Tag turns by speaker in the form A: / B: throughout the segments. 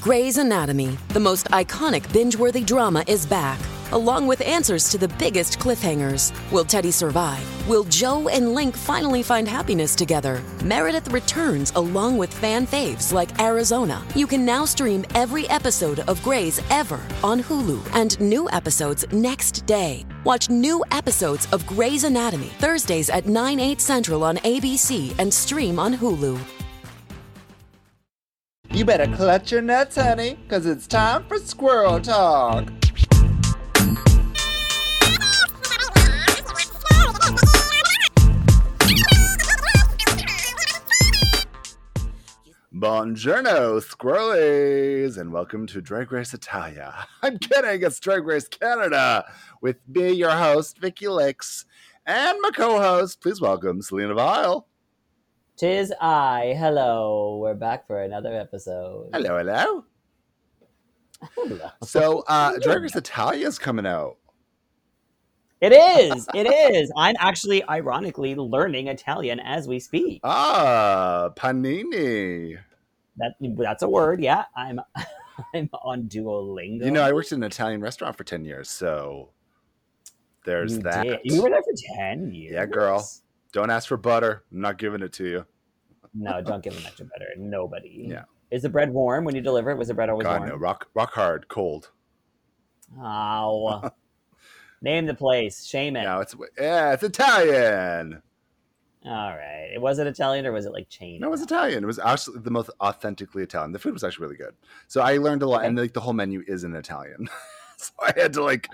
A: Grey's Anatomy, the most iconic binge worthy drama, is back, along with answers to the biggest cliffhangers. Will Teddy survive? Will Joe and Link finally find happiness together? Meredith returns along with fan faves like Arizona. You can now stream every episode of Grey's ever on Hulu and new episodes next day. Watch new episodes of Grey's Anatomy Thursdays at 9, 8 central on ABC and stream on Hulu.
B: You better clutch your nuts, honey, because it's time for squirrel talk. Buongiorno, squirrelies, and welcome to Drag Race Italia. I'm kidding, it's Drag Race Canada with me, your host, Vicky Licks, and my co host, please welcome Selena Vile.
C: Tis I. Hello. We're back for another episode.
B: Hello, hello.
C: Hello.
B: So, uh, Drag Race Italia's coming out.
C: It is. It is. I'm actually, ironically, learning Italian as we speak.
B: Ah, Panini.
C: That that's a word. Yeah. I'm. I'm on Duolingo.
B: You know, I worked in an Italian restaurant for 10 years, so there's
C: You
B: that.
C: did. You were there for ten years.
B: Yeah, girl. Don't ask for butter. I'm not giving it to you.
C: No, don't give them extra butter. Nobody.
B: Yeah.
C: Is the bread warm when you deliver it? Was the bread always
B: God, no.
C: warm?
B: Rock, rock hard, cold.
C: Ow. Name the place. Shame it.
B: No, it's yeah, it's Italian.
C: All right. It was it Italian or was it like chain?
B: No, it was Italian. It was actually the most authentically Italian. The food was actually really good. So I learned a lot, and like the whole menu is in Italian. so I had to like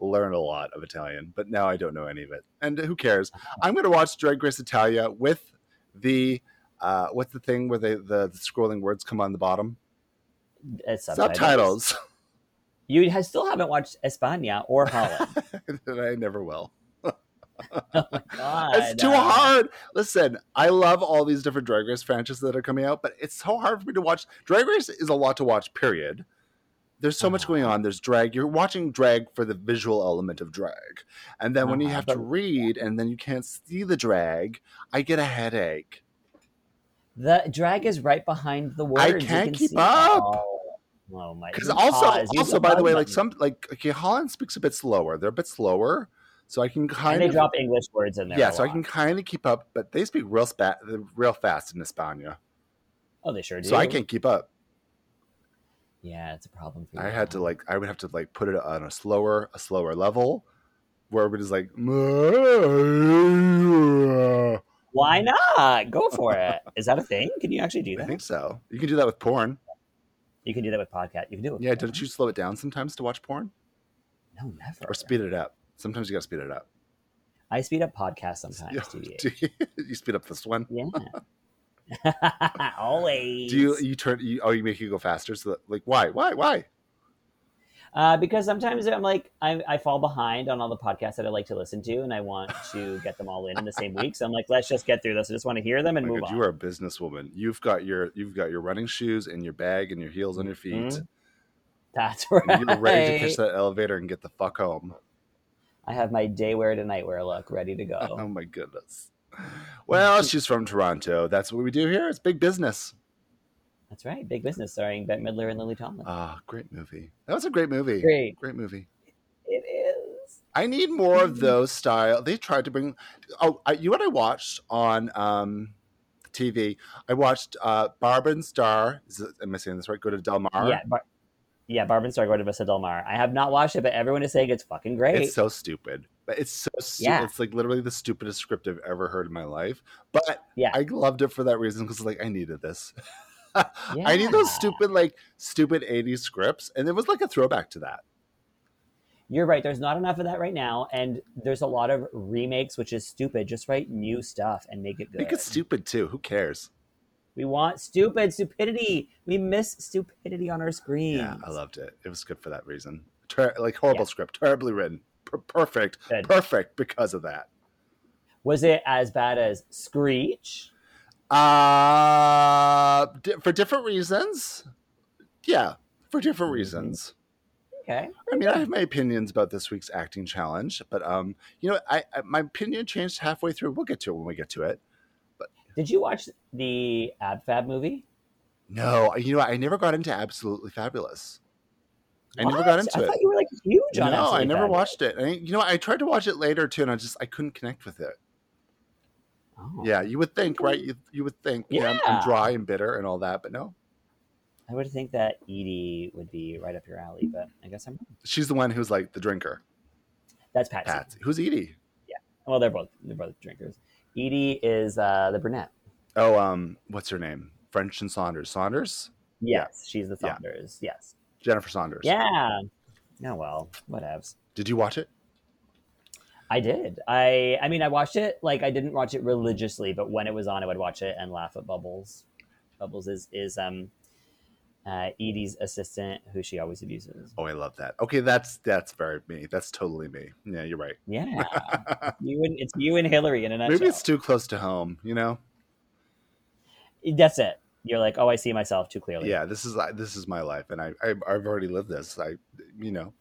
B: learn a lot of Italian, but now I don't know any of it. And who cares? I'm gonna watch Drag Race Italia with the uh, what's the thing where they the, the scrolling words come on the bottom
C: It's
B: subtitles.
C: You ha- still haven't watched España or Holland.
B: that I never will.
C: God,
B: It's too
C: uh,
B: hard. Listen, I love all these different Drag Race franchises that are coming out, but it's so hard for me to watch. Drag Race is a lot to watch, period. There's so much
C: Uh-huh.
B: going on. There's drag. You're watching drag for the visual element of drag. And then when you
C: Uh-huh,
B: have to
C: but-
B: read and then you can't see the drag, I get a headache.
C: The drag is right behind the words.
B: I
C: You
B: can't
C: can
B: keep
C: see-
B: up.
C: Oh, oh my!
B: Because
C: you
B: also,
C: pause, you
B: also
C: don't
B: by the
C: pause
B: way, like
C: button.
B: some, like, okay, Holland speaks a bit slower. They're a bit slower. So I can
C: and
B: kind
C: they
B: of.
C: drop English words in there.
B: yeah,
C: a
B: so I
C: lot.
B: can kind of keep up, but they speak real, spa- real fast in España.
C: Oh, they sure do.
B: So I can't keep up.
C: Yeah, it's a problem for you.
B: I had to like I would have to like put it on a slower a slower level where it is like I
C: Why not? Go for it. Is that a thing? Can you actually do that?
B: think so. You can do that with porn.
C: You can do that with podcast. You can do it. With
B: Yeah, don't you slow it down sometimes to watch porn
C: No, never.
B: or speed it up? Sometimes you got to speed it up.
C: I speed up podcasts sometimes.
B: Yeah,
C: Do you?
B: do you, you speed up this one.
C: Yeah. Always.
B: Do you you turn you, oh you make you go faster so that, like why? Why? Why?
C: Uh, because sometimes I'm like I, I fall behind on all the podcasts that I like to listen to, and I want to get them all in in the same week. So I'm like, let's just get through this. I just want to hear them and
B: My
C: move
B: God,
C: on.
B: you are a businesswoman. You've got your you've got your running shoes and your bag and your heels on your feet.
C: Mhm. That's right.
B: And you're ready to catch that elevator and get the fuck home.
C: I have my day wear to night wear look ready to
B: Oh.
C: go.
B: my goodness. Well, she's from Toronto. That's what we do here. It's big business.
C: That's right. Big business starring Bette Midler and Lily Tomlin.
B: Ah, great movie. That was a great movie.
C: Great.
B: movie.
C: It is.
B: I need more of those style. They tried to bring. Oh, I, you know what I watched on um, TV? I watched uh, Barb and Star. Is it, am I saying this right? Go to Del Mar.
C: Yeah. Bar- yeah, Barb and Star go to Vista Del Mar. I have not watched it, but everyone is saying it's fucking great.
B: It's so stupid. But it's so stu-
C: Yeah.
B: it's like literally the stupidest script I've ever heard in my life. But
C: Yeah.
B: I loved it for that reason because like I needed this. I need
C: Yeah.
B: those stupid like stupid 80s scripts and it was like a throwback to that.
C: You're right. There's not enough of that right now, and there's a lot of remakes, which is stupid. Just write new stuff and make it good.
B: Make it stupid too. Who cares?
C: we want stupid stupidity. We miss stupidity on our screens.
B: Yeah, I loved it. It was good for that reason. Ter- like horrible script, terribly written. Per- perfect.
C: Good.
B: Perfect because of that.
C: Was it as bad as Screech?
B: Uh di- for different reasons. Yeah, for different
C: Mhm.
B: reasons.
C: Okay.
B: I mean, I have my opinions about this week's acting challenge, but um, you know, I, I my opinion changed halfway through. We'll get to it when we get to it.
C: Did you watch the Ab Fab movie?
B: No, you know, I never got into Absolutely Fabulous. I never got
C: What?
B: into
C: I
B: it.
C: thought you were like huge on
B: no, I
C: Absolutely
B: never
C: Fabulous.
B: watched it. I, you know, I tried to watch it later too, and I just I couldn't connect with it.
C: Oh.
B: Yeah, you would think, right? You you would think, yeah, I'm- I'm,
C: Yeah.
B: dry and bitter and all that, but no,
C: I would think that Edie would be right up your alley, but I guess I'm wrong.
B: she's the one who's like the drinker.
C: That's Patsy.
B: Patsy, who's Edie?
C: Well, they're both they're both drinkers. Edie is uh, the brunette.
B: Oh, um, what's her name? French and Saunders. Saunders,
C: Yes, she's the
B: Yeah.
C: Saunders. Yes.
B: Jennifer Saunders.
C: Yeah. Oh well, whatevs.
B: Did you watch it?
C: I did. I I mean, I watched it. Like, I didn't watch it religiously, but when it was on, I would watch it and laugh at Bubbles. Bubbles is is um, uh, Edie's assistant, who she always abuses.
B: Oh, I love that. Okay, that's that's very me. That's totally me. Yeah, you're right.
C: Yeah, you and it's you and Hillary in a nutshell.
B: Maybe it's too close to home. You know?
C: That's it. You're like, oh, I see myself too clearly.
B: Yeah. This is this is my life, and I, I I've already lived this. I, you know,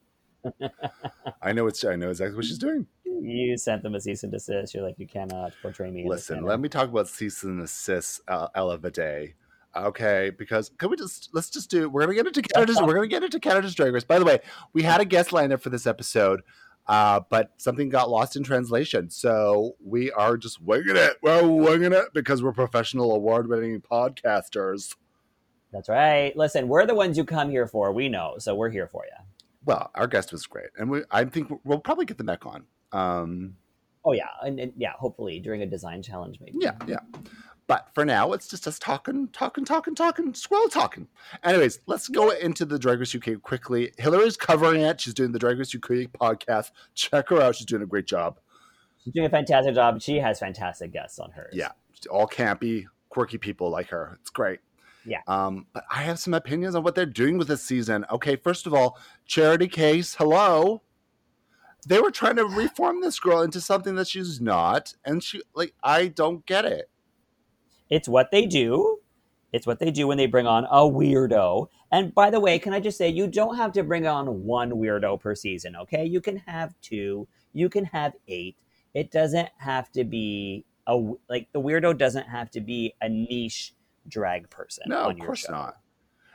B: I know it's I know exactly what she's doing.
C: You sent them a cease and desist. You're like, you cannot portray me. in this
B: Listen,
C: manner."
B: let me talk about cease and desist, uh, Ella Vidae. Okay, because can we just let's just do we're gonna get into Canada's we're gonna get into Canada's Drag Race. By the way, we had a guest lined up for this episode, uh, but something got lost in translation, so we are just winging it. We're winging it because we're professional award-winning podcasters.
C: That's right. Listen, we're the ones you come here for. We know, so we're here for you.
B: Well, our guest was great, and we I think we'll probably get them back on. Um,
C: Oh yeah, and, and yeah, hopefully during a design challenge, maybe.
B: Yeah, yeah. But for now, it's just us talking, talking, talking, talking, squirrel talking. Anyways, let's go into the Drag Race UK quickly. Hillary's covering it. She's doing the Drag Race UK podcast. Check her out. She's doing a great job.
C: she's doing a fantastic job. She has fantastic guests on hers.
B: Yeah, all campy, quirky people like her. It's great.
C: Yeah.
B: Um, but I have some opinions on what they're doing with this season. Okay, first of all, Charity Case, hello. They were trying to reform this girl into something that she's not, and she like I don't get it.
C: It's what they do. It's what they do when they bring on a weirdo. And by the way, can I just say, you don't have to bring on one weirdo per season, okay? You can have two, you can have eight. It doesn't have to be a, w- like, the weirdo doesn't have to be a niche drag person.
B: No,
C: on
B: of
C: your
B: course
C: show.
B: not.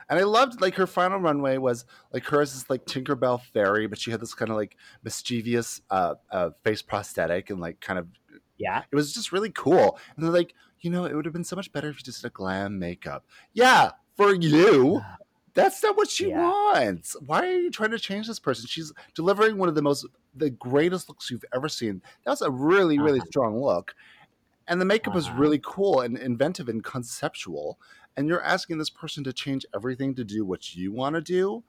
B: And I loved like her final runway was like hers is like Tinkerbell fairy, but she had this kind of like mischievous uh, uh, face prosthetic and like kind of
C: Yeah.
B: it was just really cool. And they're like, you know, it would have been so much better if you just did a glam makeup. Yeah, for you. That's not what she
C: Yeah.
B: wants. Why are you trying to change this person? She's delivering one of the most the greatest looks you've ever seen. That was a really, really strong look. And the makeup was
C: Uh-huh.
B: really cool and inventive and conceptual. And you're asking this person to change everything to do what you want to do.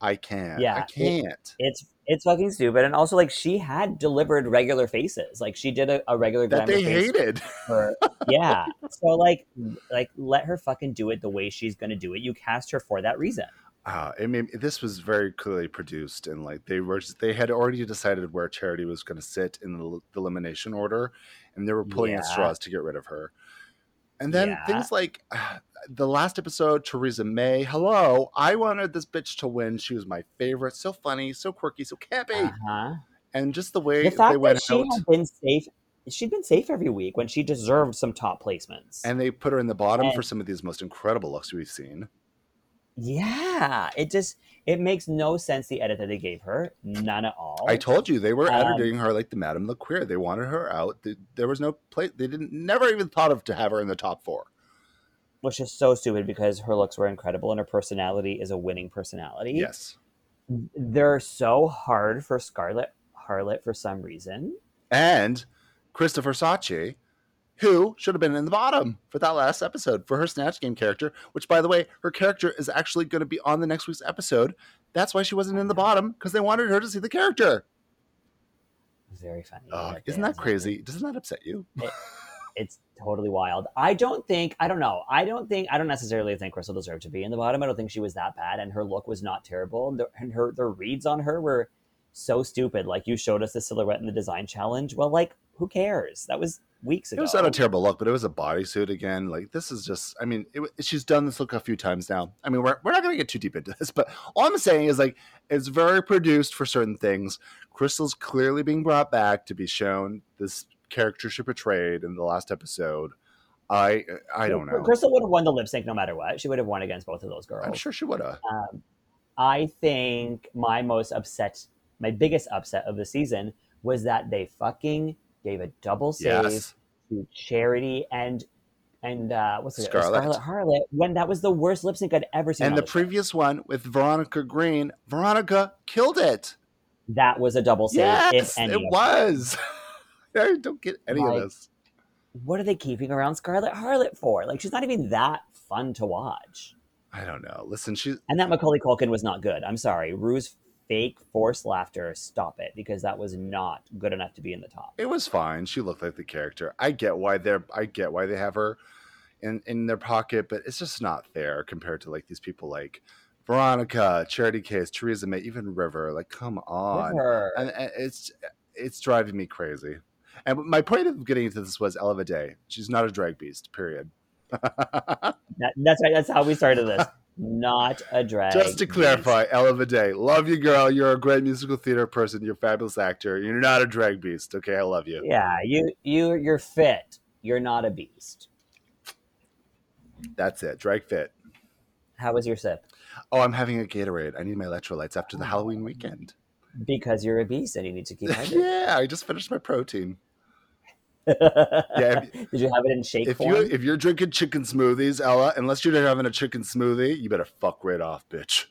B: I can't.
C: Yeah,
B: I
C: it-
B: can't.
C: It's it's fucking stupid. And also, like, she had delivered regular faces. Like, she did a, a regular
B: that
C: glamour
B: they
C: face
B: hated.
C: her. Yeah. So like like let her fucking do it the way she's gonna do it. You cast her for that reason.
B: Uh, I mean, this was very clearly produced, and like they were, just, they had already decided where Charity was going to sit in the, l- the elimination order, and they were pulling at
C: Yeah.
B: straws to get rid of her. And then
C: Yeah.
B: things like uh, the last episode, Theresa May. Hello, I wanted this bitch to win. She was my favorite. So funny, so quirky, so campy,
C: Uh-huh.
B: and just the way
C: The
B: they
C: fact that
B: went
C: she
B: out
C: had been safe she'd been safe every week when she deserved some top placements.
B: and they put her in the bottom
C: and-
B: for some of these most incredible looks we've seen.
C: yeah. It just it makes no sense the edit that they gave her. None at all.
B: I told you they were
C: Um,
B: editing her like the Madame the Queer. They wanted her out. Th- there was no place. They didn't never even thought of to have her in the top four.
C: which is so stupid because her looks were incredible and her personality is a winning personality.
B: Yes,
C: They're so hard for Scarlett Harlot for some reason.
B: and Christopher Sachi, who should have been in the bottom for that last episode for her snatch game character. Which, by the way, her character is actually going to be on the next week's episode. That's why she wasn't in the bottom because they wanted her to see the character.
C: Very funny.
B: Ugh,
C: they
B: isn't that
C: had-
B: crazy? Doesn't that upset you?
C: it's totally wild. I don't think I don't know. I don't think I don't necessarily think Crystal deserved to be in the bottom. I don't think she was that bad, and her look was not terrible. And, the, and her the reads on her were so stupid. Like you showed us the silhouette in the design challenge. Well, like who cares? That was weeks
B: It
C: ago.
B: was not a terrible look, but it was a bodysuit again. Like this is just, I mean, it, wa- she's done this look a few times now. I mean, we're, we're not going to get too deep into this, but all I'm saying is like it's very produced for certain things. Crystal's clearly being brought back to be shown this character she portrayed in the last episode. I I don't know.
C: Crystal would have won the lip sync no matter what. She would have won against both of those girls.
B: I'm sure she would have.
C: Um, I think my most upset, my biggest upset of the season was that they fucking gave a double save
B: Yes.
C: to Charity and and uh, what's it
B: Scarlett.
C: Scarlet Harlot when that was the worst lip sync I'd ever seen.
B: And
C: on
B: the
C: this show.
B: previous one with Veronica Green, Veronica killed it.
C: that was a double save.
B: yes,
C: if any.
B: it was. I don't get any
C: Like,
B: of this.
C: What are they keeping around Scarlet Harlot for? Like she's not even that fun to watch.
B: I don't know. Listen, she
C: And that Macaulay Culkin was not good. I'm sorry, Rue's fake forced laughter. Stop it, because that was not good enough to be in the top.
B: it was fine. She looked like the character. I get why they're I get why they have her in in their pocket, but it's just not fair compared to like these people like Veronica, Charity Case, Theresa May, even River. Like, come on.
C: River.
B: and, and it's it's driving me crazy. And my point of getting into this was Ella Day. She's not a drag beast. Period.
C: That, that's right. That's how we started this. Not a drag.
B: Just to
C: beast.
B: clarify, Ella Day, love you, girl. You're a great musical theater person. You're a fabulous actor. You're not a drag beast. Okay, I love you.
C: Yeah, you you you're fit. You're not a beast.
B: That's it. Drag fit.
C: How was your sip?
B: Oh, I'm having a Gatorade. I need my electrolytes after the Halloween weekend.
C: Because you're a beast and you need to keep hydrated.
B: yeah, I just finished my protein. if-
C: Did you have it in shake
B: If you
C: form?
B: if you're drinking chicken smoothies, Ella, unless you're having a chicken smoothie, you better fuck right off, bitch.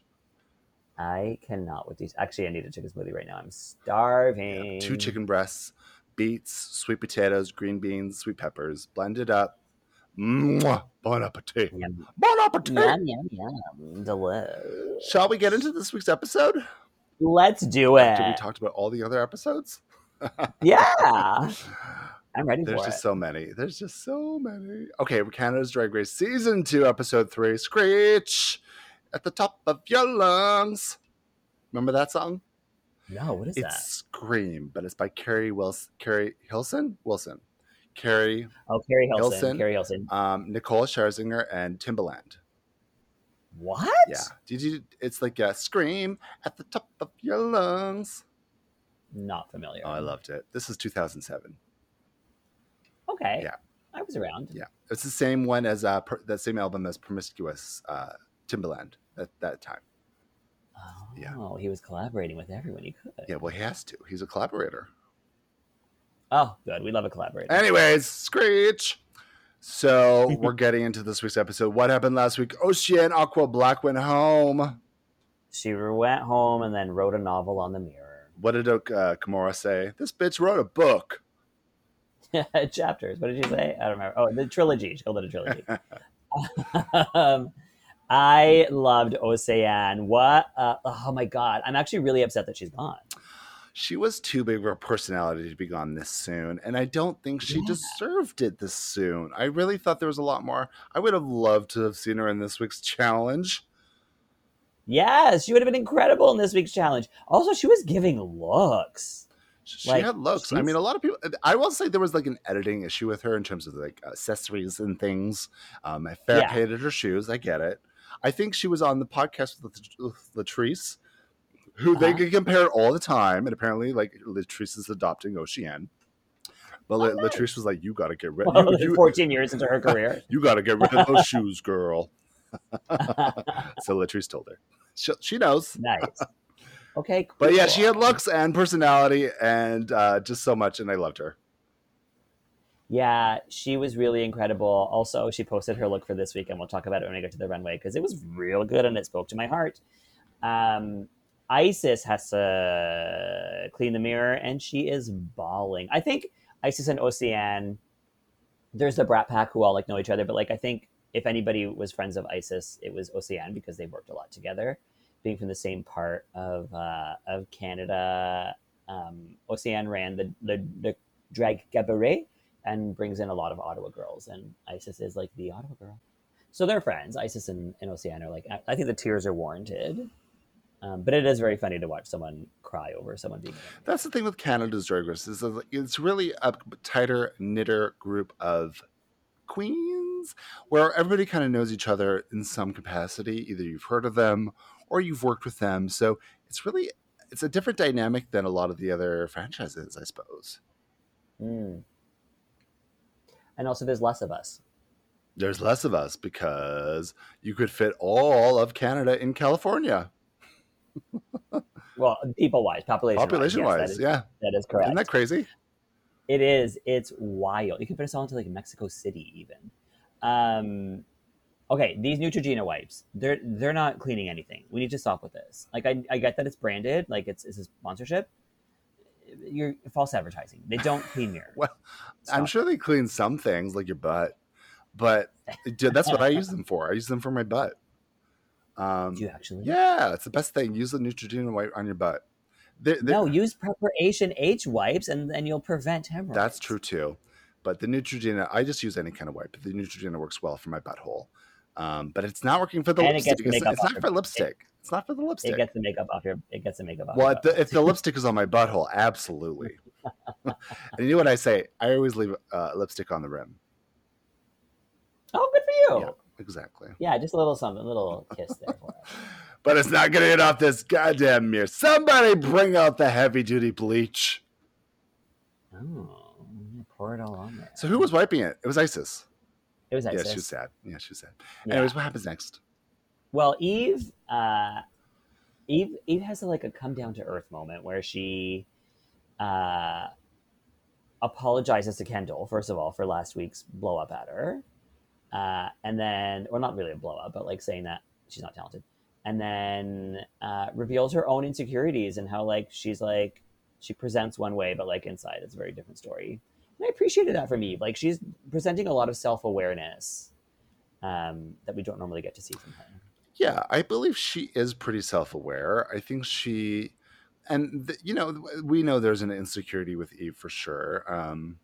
C: I cannot with these. Actually, I need a chicken smoothie right now. I'm starving.
B: two chicken breasts, beets, sweet potatoes, green beans, sweet peppers, blend it up. Mwah! Bon appetit.
C: Yum,
B: Bon appetit.
C: yum, yum, yum. Delish.
B: Shall we get into this week's episode?
C: Let's do
B: After we
C: it.
B: talked about all the other episodes?
C: yeah, I'm ready
B: There's
C: for
B: just
C: it.
B: so many. There's just so many. Okay, Canada's Drag Race Season 2, Episode 3, Screech at the top of your lungs. Remember that song?
C: no, what is
B: it's Scream, but it's by Carrie Wilson. Carrie Hilson? Wilson. Carrie
C: that? Oh, Carrie Hilson.
B: Hilson.
C: Carrie Hilson.
B: um, Nicole Scherzinger and Timbaland.
C: What?
B: Yeah, did you? It's like a scream at the top of your lungs.
C: Not familiar.
B: Oh, I loved it. This is 2007.
C: Okay.
B: Yeah.
C: I was around.
B: Yeah, it's the same one as uh, per, that same album as Promiscuous uh, Timbaland at that time.
C: Oh,
B: Yeah.
C: he was collaborating with everyone he could.
B: Yeah, well, he has to. He's a collaborator.
C: Oh, good. We love a collaborator.
B: Anyways, Screech. So we're getting into this week's episode. What happened last week? Ocean Aqua Black went home.
C: she went home and then wrote a novel on the mirror.
B: What did uh, Kimura say? This bitch wrote a book.
C: Chapters. What did she say? I don't remember. Oh, the trilogy. She called it a trilogy. um, I loved Ocean. What? Uh, oh my god! I'm actually really upset that she's gone.
B: she was too big of a personality to be gone this soon and i don't think she
C: Yeah.
B: deserved it this soon i really thought there was a lot more i would have loved to have seen her in this week's challenge
C: Yes, she would have been incredible in this week's challenge. Also, she was giving looks.
B: she
C: Like,
B: had looks i
C: she's-
B: mean a lot of people i will say there was like an editing issue with her in terms of like accessories and things um i fair
C: Yeah.
B: hated her shoes i get it i think she was on the podcast with, Lat- with latrice who they
C: Uh-huh.
B: get compared all the time and apparently like latrice is adopting ocean but La-
C: Oh, nice.
B: latrice was like you got to get rid
C: Well,
B: you- you-
C: 14 years into her career.
B: You got to get rid of those shoes, girl. so Latrice told her. She, she knows.
C: nice. Okay. Cool.
B: But yeah, she had looks and personality and uh, just so much, and I loved her.
C: Yeah, she was really incredible. Also, she posted her look for this week, and we'll talk about it when we get to the runway because it was real good and it spoke to my heart. Um, Isis has to clean the mirror, and she is bawling. I think Isis and Ocean, there's the Brat Pack who all like know each other, but like I think if anybody was friends of Isis, it was Ocean because they worked a lot together, being from the same part of uh, of Canada. Um, Ocean ran the the, the drag cabaret and brings in a lot of Ottawa girls, and Isis is like the Ottawa girl. So they're friends. Isis and, and Ocean are like, I, I think the tears are warranted. Um, but it is very funny to watch someone cry over someone being.
B: That's the thing with Canada's Drag Race is that it's really a tighter knitter group of queens where everybody kind of knows each other in some capacity. Either you've heard of them or you've worked with them. So it's really it's a different dynamic than a lot of the other franchises, I suppose.
C: Mm. And also, there's less of us.
B: There's less of us because you could fit all of Canada in California,
C: Well, people wise, population
B: population wise.
C: yes, that is-
B: yeah.
C: that is correct.
B: Isn't that crazy?
C: It is. It's wild. You can put us all into like Mexico City, even. Um, okay, these Neutrogena wipes. They're they're not cleaning anything. We need to stop with this. Like I, I get that it's branded, like it's it's a sponsorship. You're false advertising. They don't clean your.
B: Well, I'm
C: stuff.
B: sure they clean some things like your butt, but dude, that's what I use them for. I use them for my butt. Um,
C: Do you actually?
B: yeah, it's the best thing. Use the Neutrogena wipe on your butt. They're, they're-
C: No, use preparation H wipes, and then you'll prevent hemorrhoids.
B: That's true too. But the Neutrogena, I just use any kind of wipe. The Neutrogena works well for my butthole. Um, but it's not working for the
C: And it gets
B: lipstick. It's,
C: makeup
B: it's
C: off
B: not
C: your
B: for
C: body.
B: lipstick. It's not for the
C: It
B: lipstick.
C: gets the makeup off your. It gets the makeup off.
B: well,
C: your
B: if the, if the lipstick is on my butthole, absolutely. and you know what I say? I always leave uh, lipstick on the rim.
C: oh, good for you.
B: Yeah, exactly.
C: Yeah. just a little something, a little kiss there for us.
B: But it's not going to get off this goddamn mirror. Somebody bring out the heavy duty bleach.
C: Oh, I'm gonna pour it all on there.
B: So who was wiping it? It was ISIS.
C: It was
B: Yeah,
C: Isis.
B: she was sad. Yeah, she was sad.
C: Yeah.
B: Anyways, what happens next?
C: Well, Eve, uh, Eve, Eve has like a come down to earth moment where she uh, apologizes to Kendall first of all for last week's blow up at her, uh, and then, or not really a blow up, but like saying that she's not talented, and then uh, reveals her own insecurities and how like she's like she presents one way, but like inside it's a very different story. And I appreciated that from Eve. Like she's presenting a lot of self awareness um, that we don't normally get to see from her.
B: Yeah, I believe she is pretty self aware. I think she, and th- you know, we know there's an insecurity with Eve for sure. Um,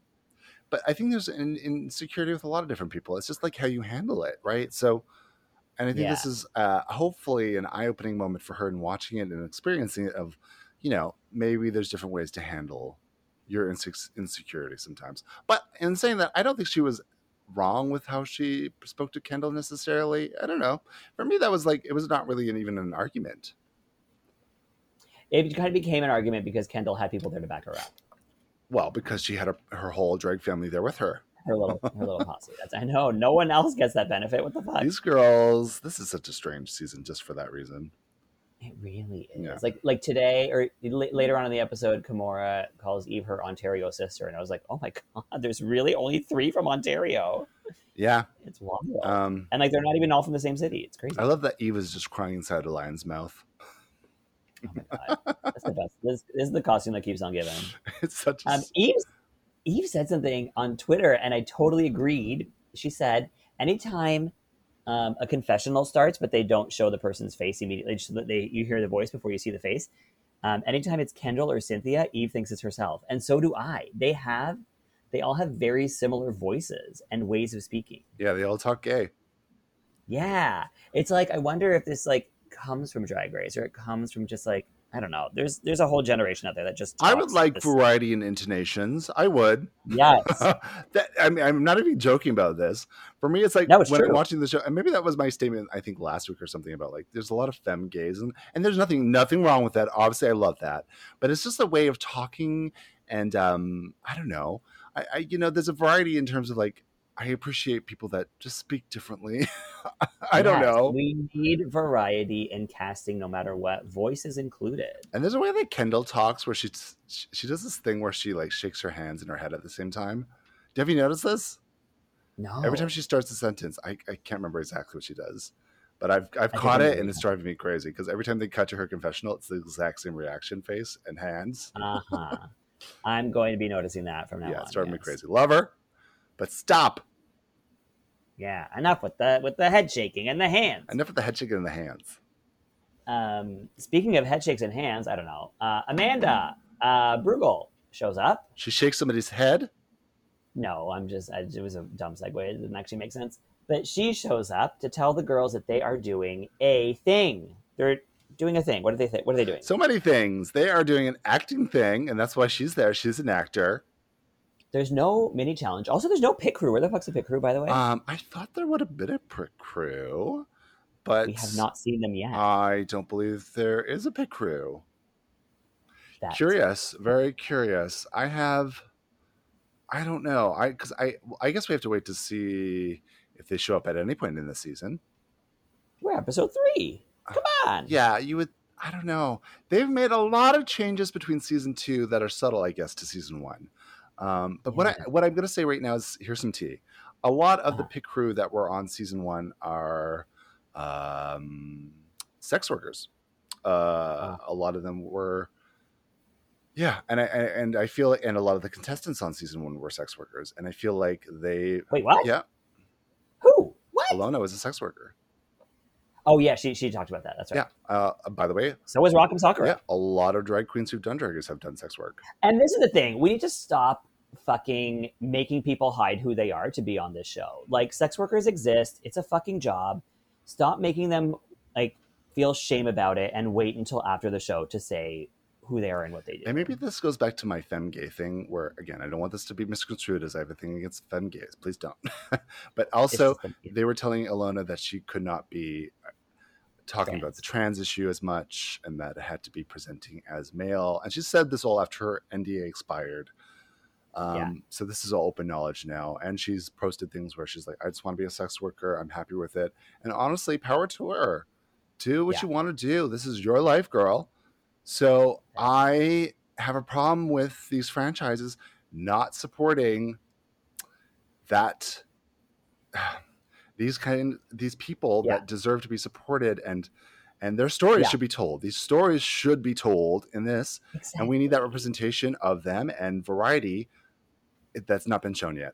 B: but I think there's an insecurity with a lot of different people. It's just like how you handle it, right? So, and I think this is uh, hopefully an eye opening moment for her in watching it and experiencing it of, you know, maybe there's different ways to handle your inse- insecurity sometimes. But in saying that, I don't think she was wrong with how she spoke to Kendall necessarily. I don't know. For me, that was like, it was not really an, even an argument.
C: it kind of became an argument because Kendall had people there to back her up.
B: Well, because she had her, her whole drag family there with her.
C: Her little, her little posse. That's I know. No one else gets that benefit. What the fuck?
B: These girls, this is such a strange season just for that reason.
C: It really is.
B: Yeah.
C: Like, like today or l- later on in the episode, Kimora calls Eve her Ontario sister, and I was like, oh my god, there's really only three from Ontario.
B: Yeah.
C: It's wild.
B: Um,
C: and like, they're not even all from the same city. It's crazy.
B: I love that Eve is just crying inside a lion's mouth.
C: Oh my god, that's the best. This, this is the costume that keeps on giving.
B: It's such a
C: Um, Eve, Eve said something on Twitter, and I totally agreed. She said, anytime um, a confessional starts, but they don't show the person's face immediately, just so that they you hear the voice before you see the face. Um, anytime it's Kendall or Cynthia, Eve thinks it's herself, and so do I. They have, they all have very similar voices and ways of speaking.
B: Yeah, they all talk gay.
C: Yeah, it's like I wonder if this like comes from Drag Race or it comes from just like I don't know. There's there's a whole generation out there that just
B: I would
C: talks
B: like
C: this-
B: variety in intonations. I would.
C: yes.
B: that I mean, I'm not even joking about this. For me, it's like
C: No, it's
B: when I'm
C: true.
B: watching the show, and maybe that was my statement. I think last week or something about like there's a lot of femme gaze, and, and there's nothing nothing wrong with that. Obviously, I love that, but it's just a way of talking, and um, I don't know. I, I you know, there's a variety in terms of like I appreciate people that just speak differently. I don't
C: Yes,
B: know.
C: We need variety in casting, no matter what. Voices included.
B: And there's a way that Kendall talks where she she she does this thing where she like shakes her hands and her head at the same time. Have you noticed this?
C: No.
B: Every time she starts a sentence, I, I can't remember exactly what she does, but I've I've
C: I
B: caught
C: don't
B: it
C: know.
B: and it's driving me crazy because every time they cut to her confessional, it's the exact same reaction face and hands.
C: Uh huh. I'm going to be noticing that from now on.
B: yeah, it's driving me
C: yes.
B: crazy. Love her, but stop.
C: Yeah. Enough with the with the head shaking and the hands.
B: Enough with the head shaking and the hands.
C: Um, speaking of head shakes and hands, I don't know. Uh, Amanda uh, Bruegel shows up.
B: She shakes somebody's head.
C: No, I'm just. I, it was a dumb segue. It didn't actually make sense. But she shows up to tell the girls that they are doing a thing. They're doing a thing. What are they? Th- what are they doing?
B: So many things. They are doing an acting thing, and that's why she's there. She's an actor.
C: There's no mini challenge. Also, there's no pit crew. Where the fuck's the pit crew, by the way?
B: Um, I thought there would have been a pit crew, but
C: we have not seen them yet.
B: I don't believe there is a pit crew.
C: That's-
B: curious very curious i have i don't know i because i i guess we have to wait to see If they show up at any point in the season,
C: We're episode three. Come on.
B: Uh, yeah, you would. I don't know. They've made a lot of changes between season two that are subtle, I guess, to season one. Um, but what I what I'm going to say right now is here's some tea. A lot of the pit crew that were on season one are um, sex workers. Uh, A lot of them were, yeah, and I I- and I feel and a lot of the contestants on season one were sex workers, and I feel like they,
C: Wait, what?
B: yeah,
C: Who? What?
B: Alona was a sex worker.
C: Oh yeah, she she talked about that. That's right.
B: Yeah. Uh, by the way,
C: So was Rock'em Sock'em.
B: yeah, a lot of drag queens who've done draggers have done sex work.
C: And this is the thing: we need to stop fucking making people hide who they are to be on this show. Like, sex workers exist; it's a fucking job. Stop making them like feel shame about it, and wait until after the show to say who they are and what they do.
B: And maybe this goes back to my femme gay thing, where again, I don't want this to be misconstrued as I have a thing against femme gays. Please don't. but
C: It's
B: also,
C: just the-
B: they were telling Ilona that she could not be uh, talking
C: Trans.
B: about the trans issue as much and that it had to be presenting as male. And she said this all after her NDA expired. Um,
C: Yeah.
B: So this is all open knowledge now. And she's posted things where she's like, I just want to be a sex worker. I'm happy with it. And honestly, power to her. Do what
C: Yeah.
B: you want to do. This is your life, girl. So
C: Yeah.
B: I have a problem with these franchises not supporting that these kind these people
C: Yeah.
B: that deserve to be supported and and their stories
C: Yeah.
B: should be told. These stories should be told in this, and we need that representation of them and variety it- that's not been shown yet.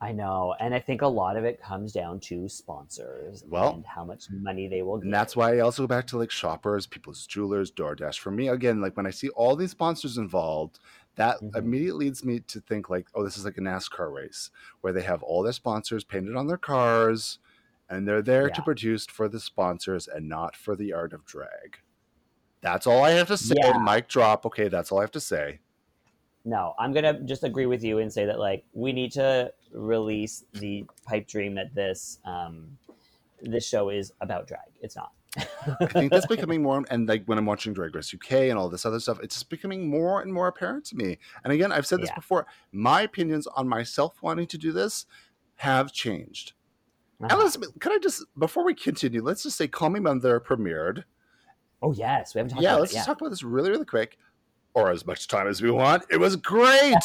C: I know, and I think a lot of it comes down to sponsors
B: Well-
C: and how much money they will. Give.
B: And that's why I also go back to like shoppers, people's jewelers, DoorDash. For me, again, like when I see all these sponsors involved, that
C: Mhm.
B: immediately leads me to think like, oh, this is like a NASCAR race where they have all their sponsors painted on their cars and they're there to
C: Yeah.
B: produce for the sponsors and not for the art of drag. That's all I have to say.
C: Yeah.
B: Mic drop. Okay, that's all I have to say.
C: No, I'm gonna just agree with you and say that like we need to release the pipe dream that this um, this show is about drag. It's not.
B: I think that's becoming more, and like when I'm watching Drag Race UK and all this other stuff, it's just becoming more and more apparent to me. And again, I've said this
C: Yeah.
B: before, my opinions on myself wanting to do this have changed.
C: Uh-huh.
B: And let's can I just, before we continue, let's just say Call Me Mother premiered.
C: Oh yes, we haven't talked
B: yeah,
C: about
B: let's
C: it.
B: just
C: Yeah.
B: talk about this really, really quick, or as much time as we want. It was great.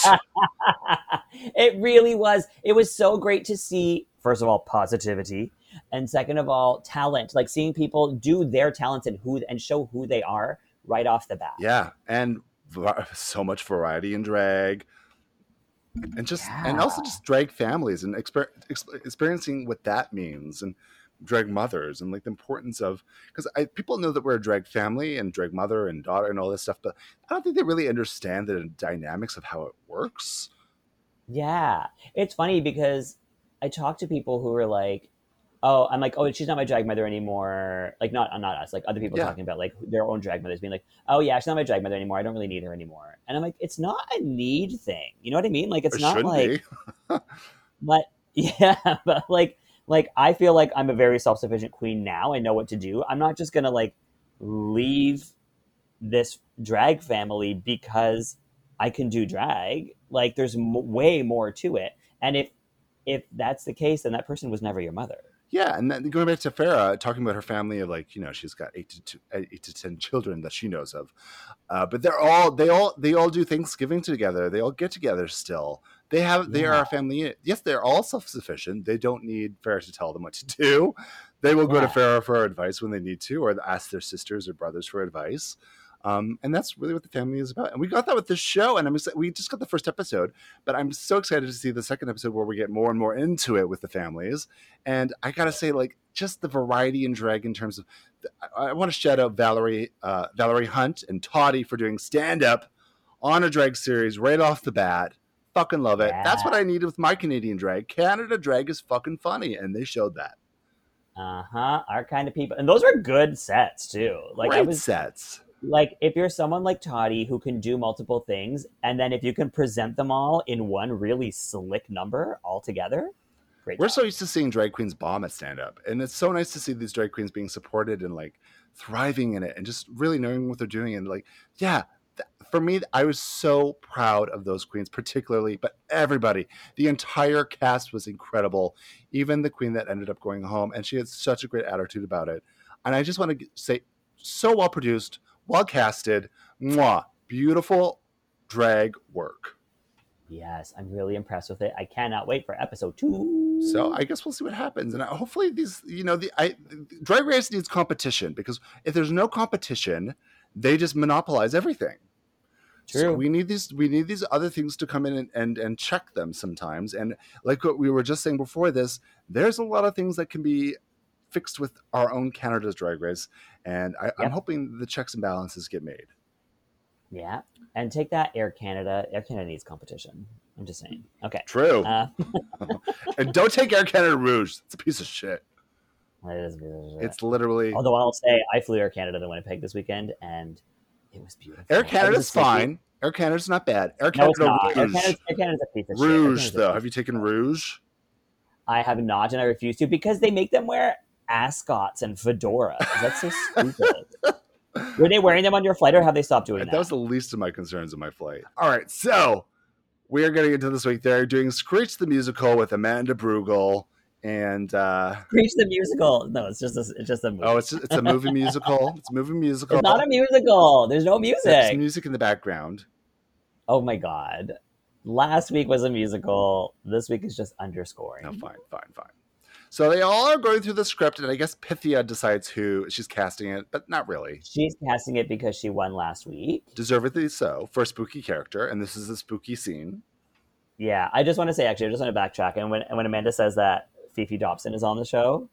C: it really was. It was so great to see. First of all, positivity, and second of all, talent. Like seeing people do their talents and who and show who they are right off the bat.
B: yeah, and var- so much variety in drag. And just and also
C: Yeah.
B: just drag families and exper- exp- experiencing what that means and drag mothers and like the importance of because I people know that we're a drag family and drag mother and daughter and all this stuff, but I don't think they really understand the dynamics of how it works.
C: Yeah. It's funny because I talk to people who are like, oh, I'm like, oh, she's not my drag mother anymore. Like, not not us, like other people
B: Yeah.
C: talking about like their own drag mothers being like, oh, yeah, she's not my drag mother anymore. I don't really need her anymore. And I'm like, it's not a need thing. You know what I mean? Like, it's
B: It
C: not
B: shouldn't
C: like,
B: be.
C: but yeah, but like, like I feel like I'm a very self sufficient queen now. I know what to do. I'm not just gonna like leave this drag family because I can do drag. Like, there's m- way more to it. And if if that's the case, then that person was never your mother.
B: Yeah, and then going back to Farah talking about her family of like you know she's got eight to two, eight to ten children that she knows of, uh, but they're all they all they all do Thanksgiving together. They all get together still. They have they are
C: Yeah.
B: a family. unit. Yes, they're all self sufficient. They don't need Farah to tell them what to do. They will go to
C: Yeah.
B: Farah for advice when they need to, or ask their sisters or brothers for advice. Um, and that's really what the family is about. And we got that with this show. And I'm excited. We just got the first episode, but I'm so excited to see the second episode where we get more and more into it with the families. And I gotta say, like, just the variety in drag in terms of, I, I want to shout out Valerie, uh, Valerie Hunt and Toddy for doing stand up on a drag series right off the bat. Fucking love it. That's what I needed with my Canadian drag. Canada drag is fucking funny, and they showed that.
C: Uh huh. Our kind of people, and those were good sets too. Like I
B: Great
C: was
B: sets.
C: like, if you're someone like Toddy who can do multiple things, and then if you can present them all in one really slick number all together, great.
B: We're
C: job.
B: so used to seeing drag queens bomb at stand up, and it's so nice to see these drag queens being supported and like thriving in it, and just really knowing what they're doing. And like, yeah, for me, I was so proud of those queens, particularly, but everybody. The entire cast was incredible. Even the queen that ended up going home, and she had such a great attitude about it. And I just want to g- say, so well produced, well casted, mwah, beautiful drag work.
C: Yes, I'm really impressed with it. I cannot wait for episode two.
B: So I guess we'll see what happens, and I- hopefully these, you know, the I, Drag Race needs competition because if there's no competition, they just monopolize everything.
C: True.
B: So we need these we need these other things to come in and, and and check them sometimes. And like what we were just saying before this, there's a lot of things that can be fixed with our own Canada's drag race. And I, I'm
C: Yep.
B: hoping the checks and balances get made.
C: yeah, and take that, Air Canada. Air Canada needs competition. I'm just saying. Okay.
B: True.
C: Uh,
B: and don't take Air Canada Rouge. It's a piece of shit.
C: it is-
B: It's literally
C: Although I'll say I flew Air Canada to Winnipeg this weekend, and it was beautiful.
B: Air
C: It was
B: Canada's
C: a city-
B: fine. Air Canada's not bad. Air
C: No, it's
B: Canada
C: not. Air
B: Rouge.
C: Canada's, Air Canada's a piece of shit. Air
B: Rouge
C: Canada's a
B: though.
C: piece
B: Have you taken Rouge?
C: I have not, and I refuse to because they make them wear ascots and fedoras. That's so stupid. Were they wearing them on your flight, or have they stopped doing that?
B: That was the least of my concerns in my flight. All right, so we are getting into this week. They're doing Screech the Musical with Amanda Brugel. And uh,
C: Preach the musical. No, it's just a, it's just a movie.
B: oh, it's it's a movie musical. It's a movie musical.
C: it's not a musical. There's no
B: There's
C: music.
B: music in the background.
C: Oh my god! Last week was a musical. This week is just underscoring.
B: No, fine, fine, fine. So they all are going through the script, and I guess Pythia decides who she's casting it, but not really.
C: She's casting it because she won last week.
B: Deservedly so for a spooky character, and this is a spooky scene.
C: Yeah, I just want to say actually, I just want to backtrack. And when and when Amanda says that Fifi Dobson is on the show,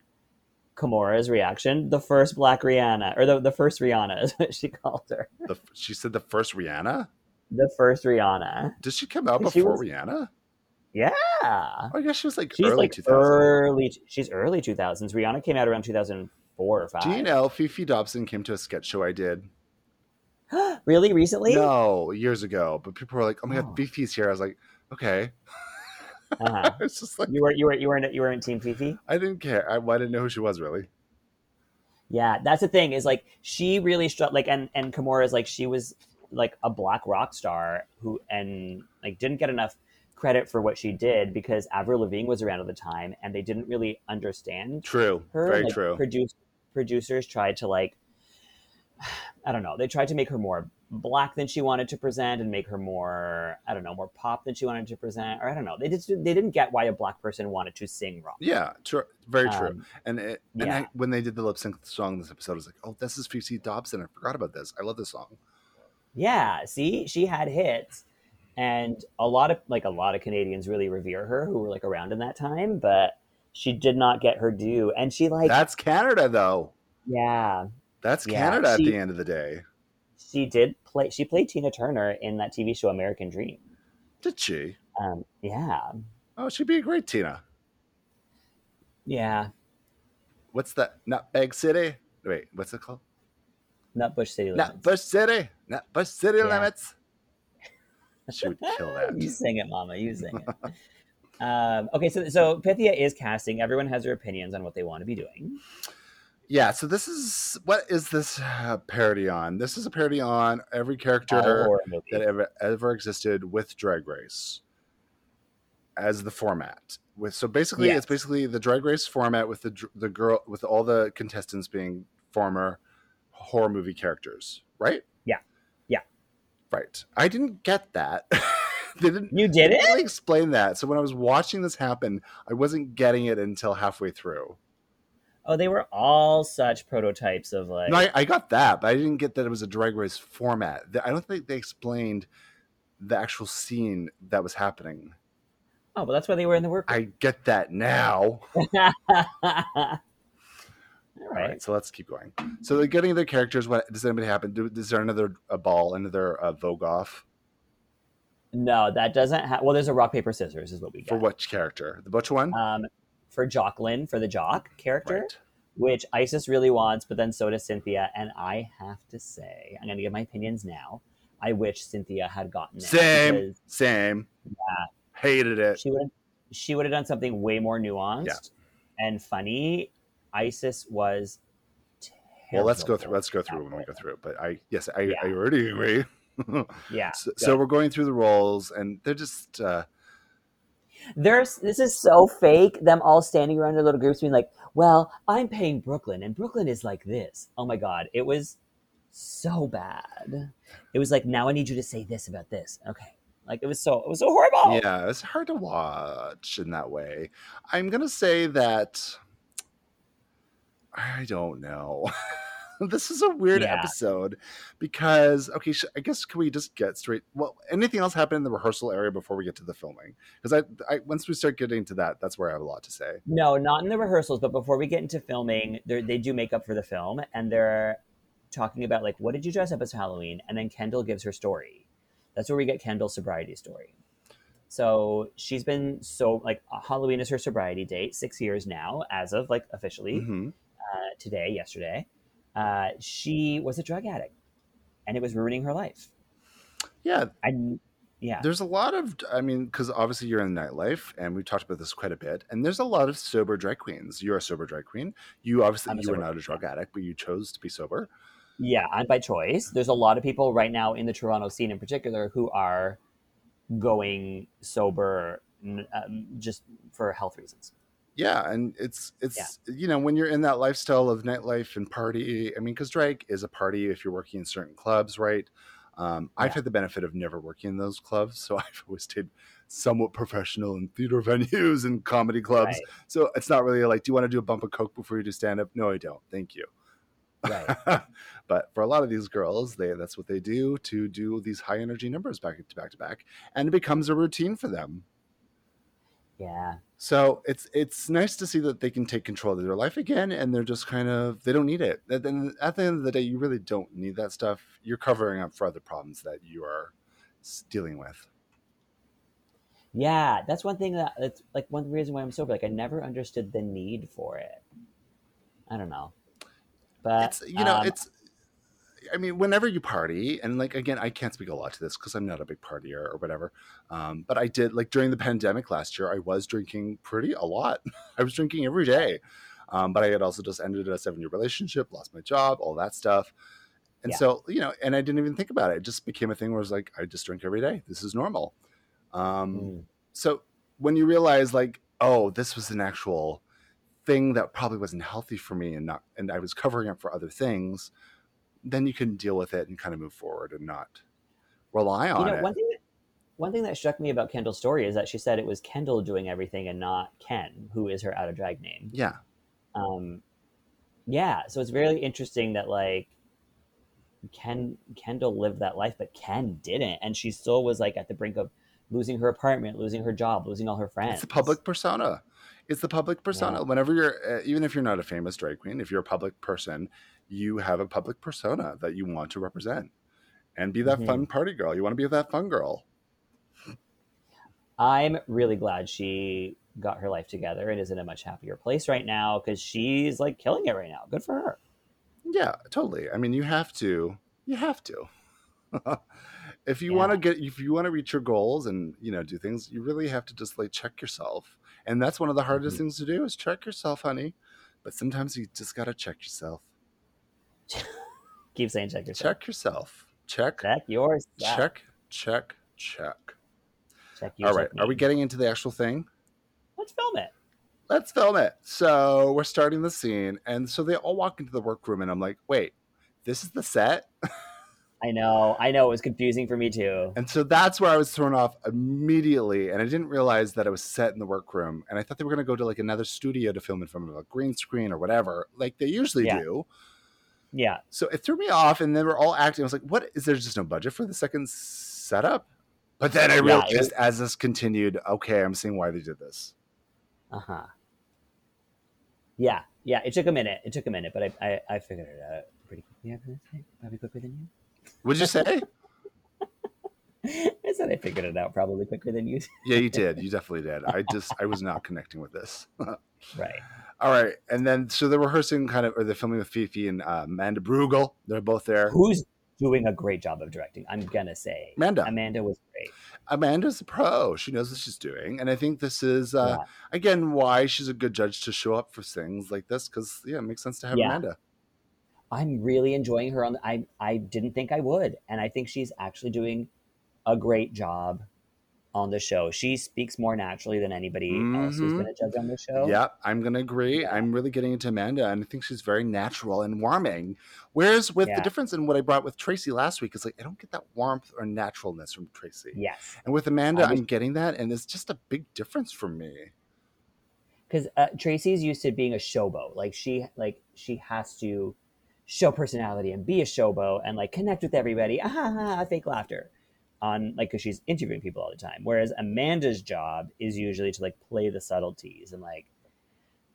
C: Kamora's reaction, the first Black Rihanna, or the, the first Rihanna is what she called her,
B: The, she said the first Rihanna.
C: the first Rihanna.
B: Did she come out
C: She
B: before
C: was-
B: Rihanna?
C: Yeah,
B: Oh, I guess she was like
C: she's
B: early
C: like
B: 2000s.
C: early. She's early two thousands. Rihanna came out around two thousand four or five.
B: Do you know Fifi Dobson came to a sketch show I did?
C: Really recently?
B: No, years ago. But people were like, "Oh my
C: Oh.
B: god, Fifi's here!" I was like, "Okay."
C: Uh-huh.
B: I was just like,
C: You were you were you were in, you were in Team Fifi.
B: I didn't care. I, I didn't know who she was really.
C: Yeah, that's the thing is like she really struck like and and Kimura is like she was like a black rock star who and like didn't get enough credit for what she did because Avril Lavigne was around at the time and they didn't really understand
B: True,
C: her.
B: very
C: like,
B: true.
C: Produce, producers tried to like I don't know. They tried to make her more black than she wanted to present and make her more I don't know more pop than she wanted to present or I don't know. They just they didn't get why a black person wanted to sing rock.
B: yeah, true, very true.
C: Um,
B: and it, and
C: yeah.
B: I, when they did the lip sync song this episode, I was like, "Oh, this is Fifi Dobson." I forgot about this. I love this song.
C: Yeah, see, she had hits, and a lot of like a lot of Canadians really revere her who were like around in that time, but she did not get her due, and she like
B: That's Canada, though.
C: yeah,
B: That's
C: Yeah,
B: Canada at
C: she-
B: the end of the day.
C: she did play she played Tina Turner in that TV show American Dream.
B: Did she?
C: Um, yeah,
B: Oh, she'd be a great Tina.
C: yeah,
B: What's that? Nutbag City. Wait, what's it called?
C: Nutbush City Limits.
B: Nutbush City. Nutbush City
C: Yeah.
B: Limits. She would kill that.
C: Ah, you sing it, Mama. You sing it. um, okay, so so Pythia is casting. Everyone has their opinions on what they want to be doing.
B: Yeah, so this is what is this uh, parody on? This is a parody on every
C: Uh,
B: character
C: horror movie.
B: that ever ever existed with Drag Race as the format. With so basically,
C: Yes.
B: it's basically the Drag Race format with the dr- the girl with all the contestants being former horror movie characters, right?
C: Yeah. Yeah.
B: right. I didn't get that. they didn't
C: You did it.
B: really explain that. So when I was watching this happen, I wasn't getting it until halfway through.
C: Oh, they were all such prototypes of like.
B: No, I, I got that, but I didn't get that it was a drag race format. The- I don't think they explained the actual scene that was happening.
C: Oh, well, that's why they were in the work.
B: I get that now.
C: All
B: All right,
C: right.
B: so let's keep going. So they're getting their characters. What does anybody happen? Do, is there another a ball, another uh, Vogue off
C: No, that doesn't have. Well, there's a rock paper scissors is what we get
B: for which character? The butch one,
C: Um, for Jocelyn for the jock character,
B: right?
C: which Isis really wants, but then so does Cynthia. And I have to say, I'm going to give my opinions now. I wish Cynthia had gotten it.
B: Same,
C: because
B: same. Hated it.
C: She would. She would have done something way more nuanced and funny. Isis was.
B: Well, let's go through.
C: terrible
B: Let's go
C: at
B: through when we
C: that.
B: go through. But I, yes, I,
C: Yeah.
B: I already agree.
C: Yeah.
B: so,
C: good.
B: so we're going through the roles, and they're just uh,
C: There's this is so fake. Them all standing around in little groups, being like, "Well, I'm paying Brooklyn, and Brooklyn is like this." Oh my god, it was so bad. It was like, "Now I need you to say this about this." Okay, like it was so it was so horrible.
B: yeah, it's hard to watch in that way. I'm gonna say that I don't know. this is a weird
C: Yeah.
B: episode because okay, sh- I guess can we just get straight? Well, anything else happened in the rehearsal area before we get to the filming? Because I, I once we start getting to that, that's where I have a lot to say.
C: No, not in the rehearsals, but before we get into filming, they're- they do make up for the film and they're talking about, like, what did you dress up as for Halloween? And then Kendall gives her story. That's where we get Kendall's sobriety story. So she's been so, like, Halloween is her sobriety date, six years now, as of, like, officially
B: Mhm.
C: uh, today, yesterday. Uh, she was a drug addict and it was ruining her life.
B: Yeah,
C: And yeah,
B: There's a lot of, I mean, because obviously you're in the nightlife, and we've talked about this quite a bit. And there's a lot of sober drag queens. You're a sober drag queen. You obviously
C: I'm a
B: you were
C: sober
B: not a drug addict, but you chose to be sober.
C: Yeah, and by choice. There's a lot of people right now in the Toronto scene in particular who are going sober n- um, just for health reasons.
B: Yeah, and it's it's you know when you're in that lifestyle of nightlife and party. I mean, because drag is a party if you're working in certain clubs, right? Um, I've
C: Yeah.
B: had the benefit of never working in those clubs, so I've always stayed somewhat professional in theater venues and comedy clubs. So it's not really like, do you want to do a bump of coke before you do stand up? No, I don't. Thank you.
C: Right, right.
B: but for a lot of these girls, they that's what they do to do these high energy numbers back to back to back, and it becomes a routine for them.
C: yeah.
B: So it's it's nice to see that they can take control of their life again, and they're just kind of they don't need it. At the, end- at the end of the day, you really don't need that stuff. You're covering up for other problems that you are s- dealing with.
C: Yeah, that's one thing that that's like one reason why I'm sober. Like I never understood the need for it. I don't know. But
B: it's you know
C: um,
B: it's i mean whenever you party and like again i can't speak a lot to this because i'm not a big partier or whatever um, but i did like during the pandemic last year i was drinking pretty a lot i was drinking every day um, but i had also just ended a seven year relationship lost my job all that stuff and
C: Yeah.
B: so you know and i didn't even think about it it just became a thing where i was like i just drink every day this is normal um,
C: mm,
B: so when you realize like oh this was an actual thing that probably wasn't healthy for me and not and i was covering up for other things then you can deal with it and kind of move forward and not rely
C: you
B: on
C: know,
B: it
C: one thing that, one thing that struck me about Kendall's story is that she said it was Kendall doing everything and not Ken, who is her out of drag name.
B: yeah
C: um yeah so it's really interesting that like ken kendall lived that life but ken didn't and she still was like at the brink of losing her apartment losing her job losing all her friends
B: it's the public persona it's the public persona
C: Yeah.
B: whenever you're uh, even if you're not a famous drag queen if you're a public person you have a public persona that you want to represent and be that
C: Mhm.
B: fun party girl you want to be that fun girl
C: i'm really glad she got her life together and is in a much happier place right now because she's like killing it right now good for her
B: Yeah, totally. I mean, you have to. You have to. if you want to
C: Yeah.
B: get, if you want to reach your goals and you know do things, you really have to just like check yourself. And that's one of the hardest
C: Mhm.
B: things to do is check yourself, honey. But sometimes you just gotta check yourself.
C: keep saying check yourself
B: Check yourself. Check.
C: check yours check,
B: Check. Check. Check.
C: check you
B: All
C: check
B: right.
C: me.
B: Are we getting into the actual thing?
C: let's film it
B: let's film it. So we're starting the scene. And so they all walk into the workroom, and I'm like, wait, this is the set?
C: i know i know it was confusing for me too
B: And so that's where I was thrown off immediately. And I didn't realize that it was set in the workroom. And I thought they were going to go to like another studio to film in front of a green screen or whatever, like they usually
C: Yeah.
B: do.
C: yeah
B: So it threw me off. And they were all acting. I was like, what? Is there just no budget for the second setup? But then I
C: Yeah,
B: realized
C: it was-
B: as this continued, okay, I'm seeing why they did this.
C: Uh huh. Yeah, yeah. It took a minute. It took a minute, but I I, I figured it out pretty quickly. I would say. Probably quicker than
B: Would you say?
C: you. I said I figured it out probably quicker than you.
B: yeah, you did. You definitely did. I just, I was not connecting with this.
C: right.
B: all right. And then, so they're rehearsing kind of, or they're filming with Fifi and uh, Amanda Brugel. They're both there.
C: Who's doing a great job of directing? I'm gonna say
B: Amanda.
C: Amanda was great.
B: Amanda's a pro. She knows what she's doing. And I think this is, uh,
C: Yeah.
B: again, why she's a good judge to show up for things like this because, yeah, it makes sense to have
C: Yeah.
B: Amanda.
C: I'm really enjoying her on the, I I didn't think I would and I think she's actually doing a great job on the show. She speaks more naturally than anybody else who's
B: Mhm.
C: been a judge on the show.
B: Yeah, I'm gonna agree. I'm really getting into Amanda, and I think she's very natural and warming. Whereas with
C: Yeah.
B: the difference in what I brought with Tracy last week is like I don't get that warmth or naturalness from Tracy.
C: Yes.
B: And with Amanda,
C: I was-
B: I'm getting that, and it's just a big difference for me.
C: Cuz uh, Tracy's used to being a showbo. Like she like she has to show personality and be a showbo and like connect with everybody. Ah, ha, ha, ha, fake laughter. On like cuz she's interviewing people all the time. Whereas Amanda's job is usually to like play the subtleties and like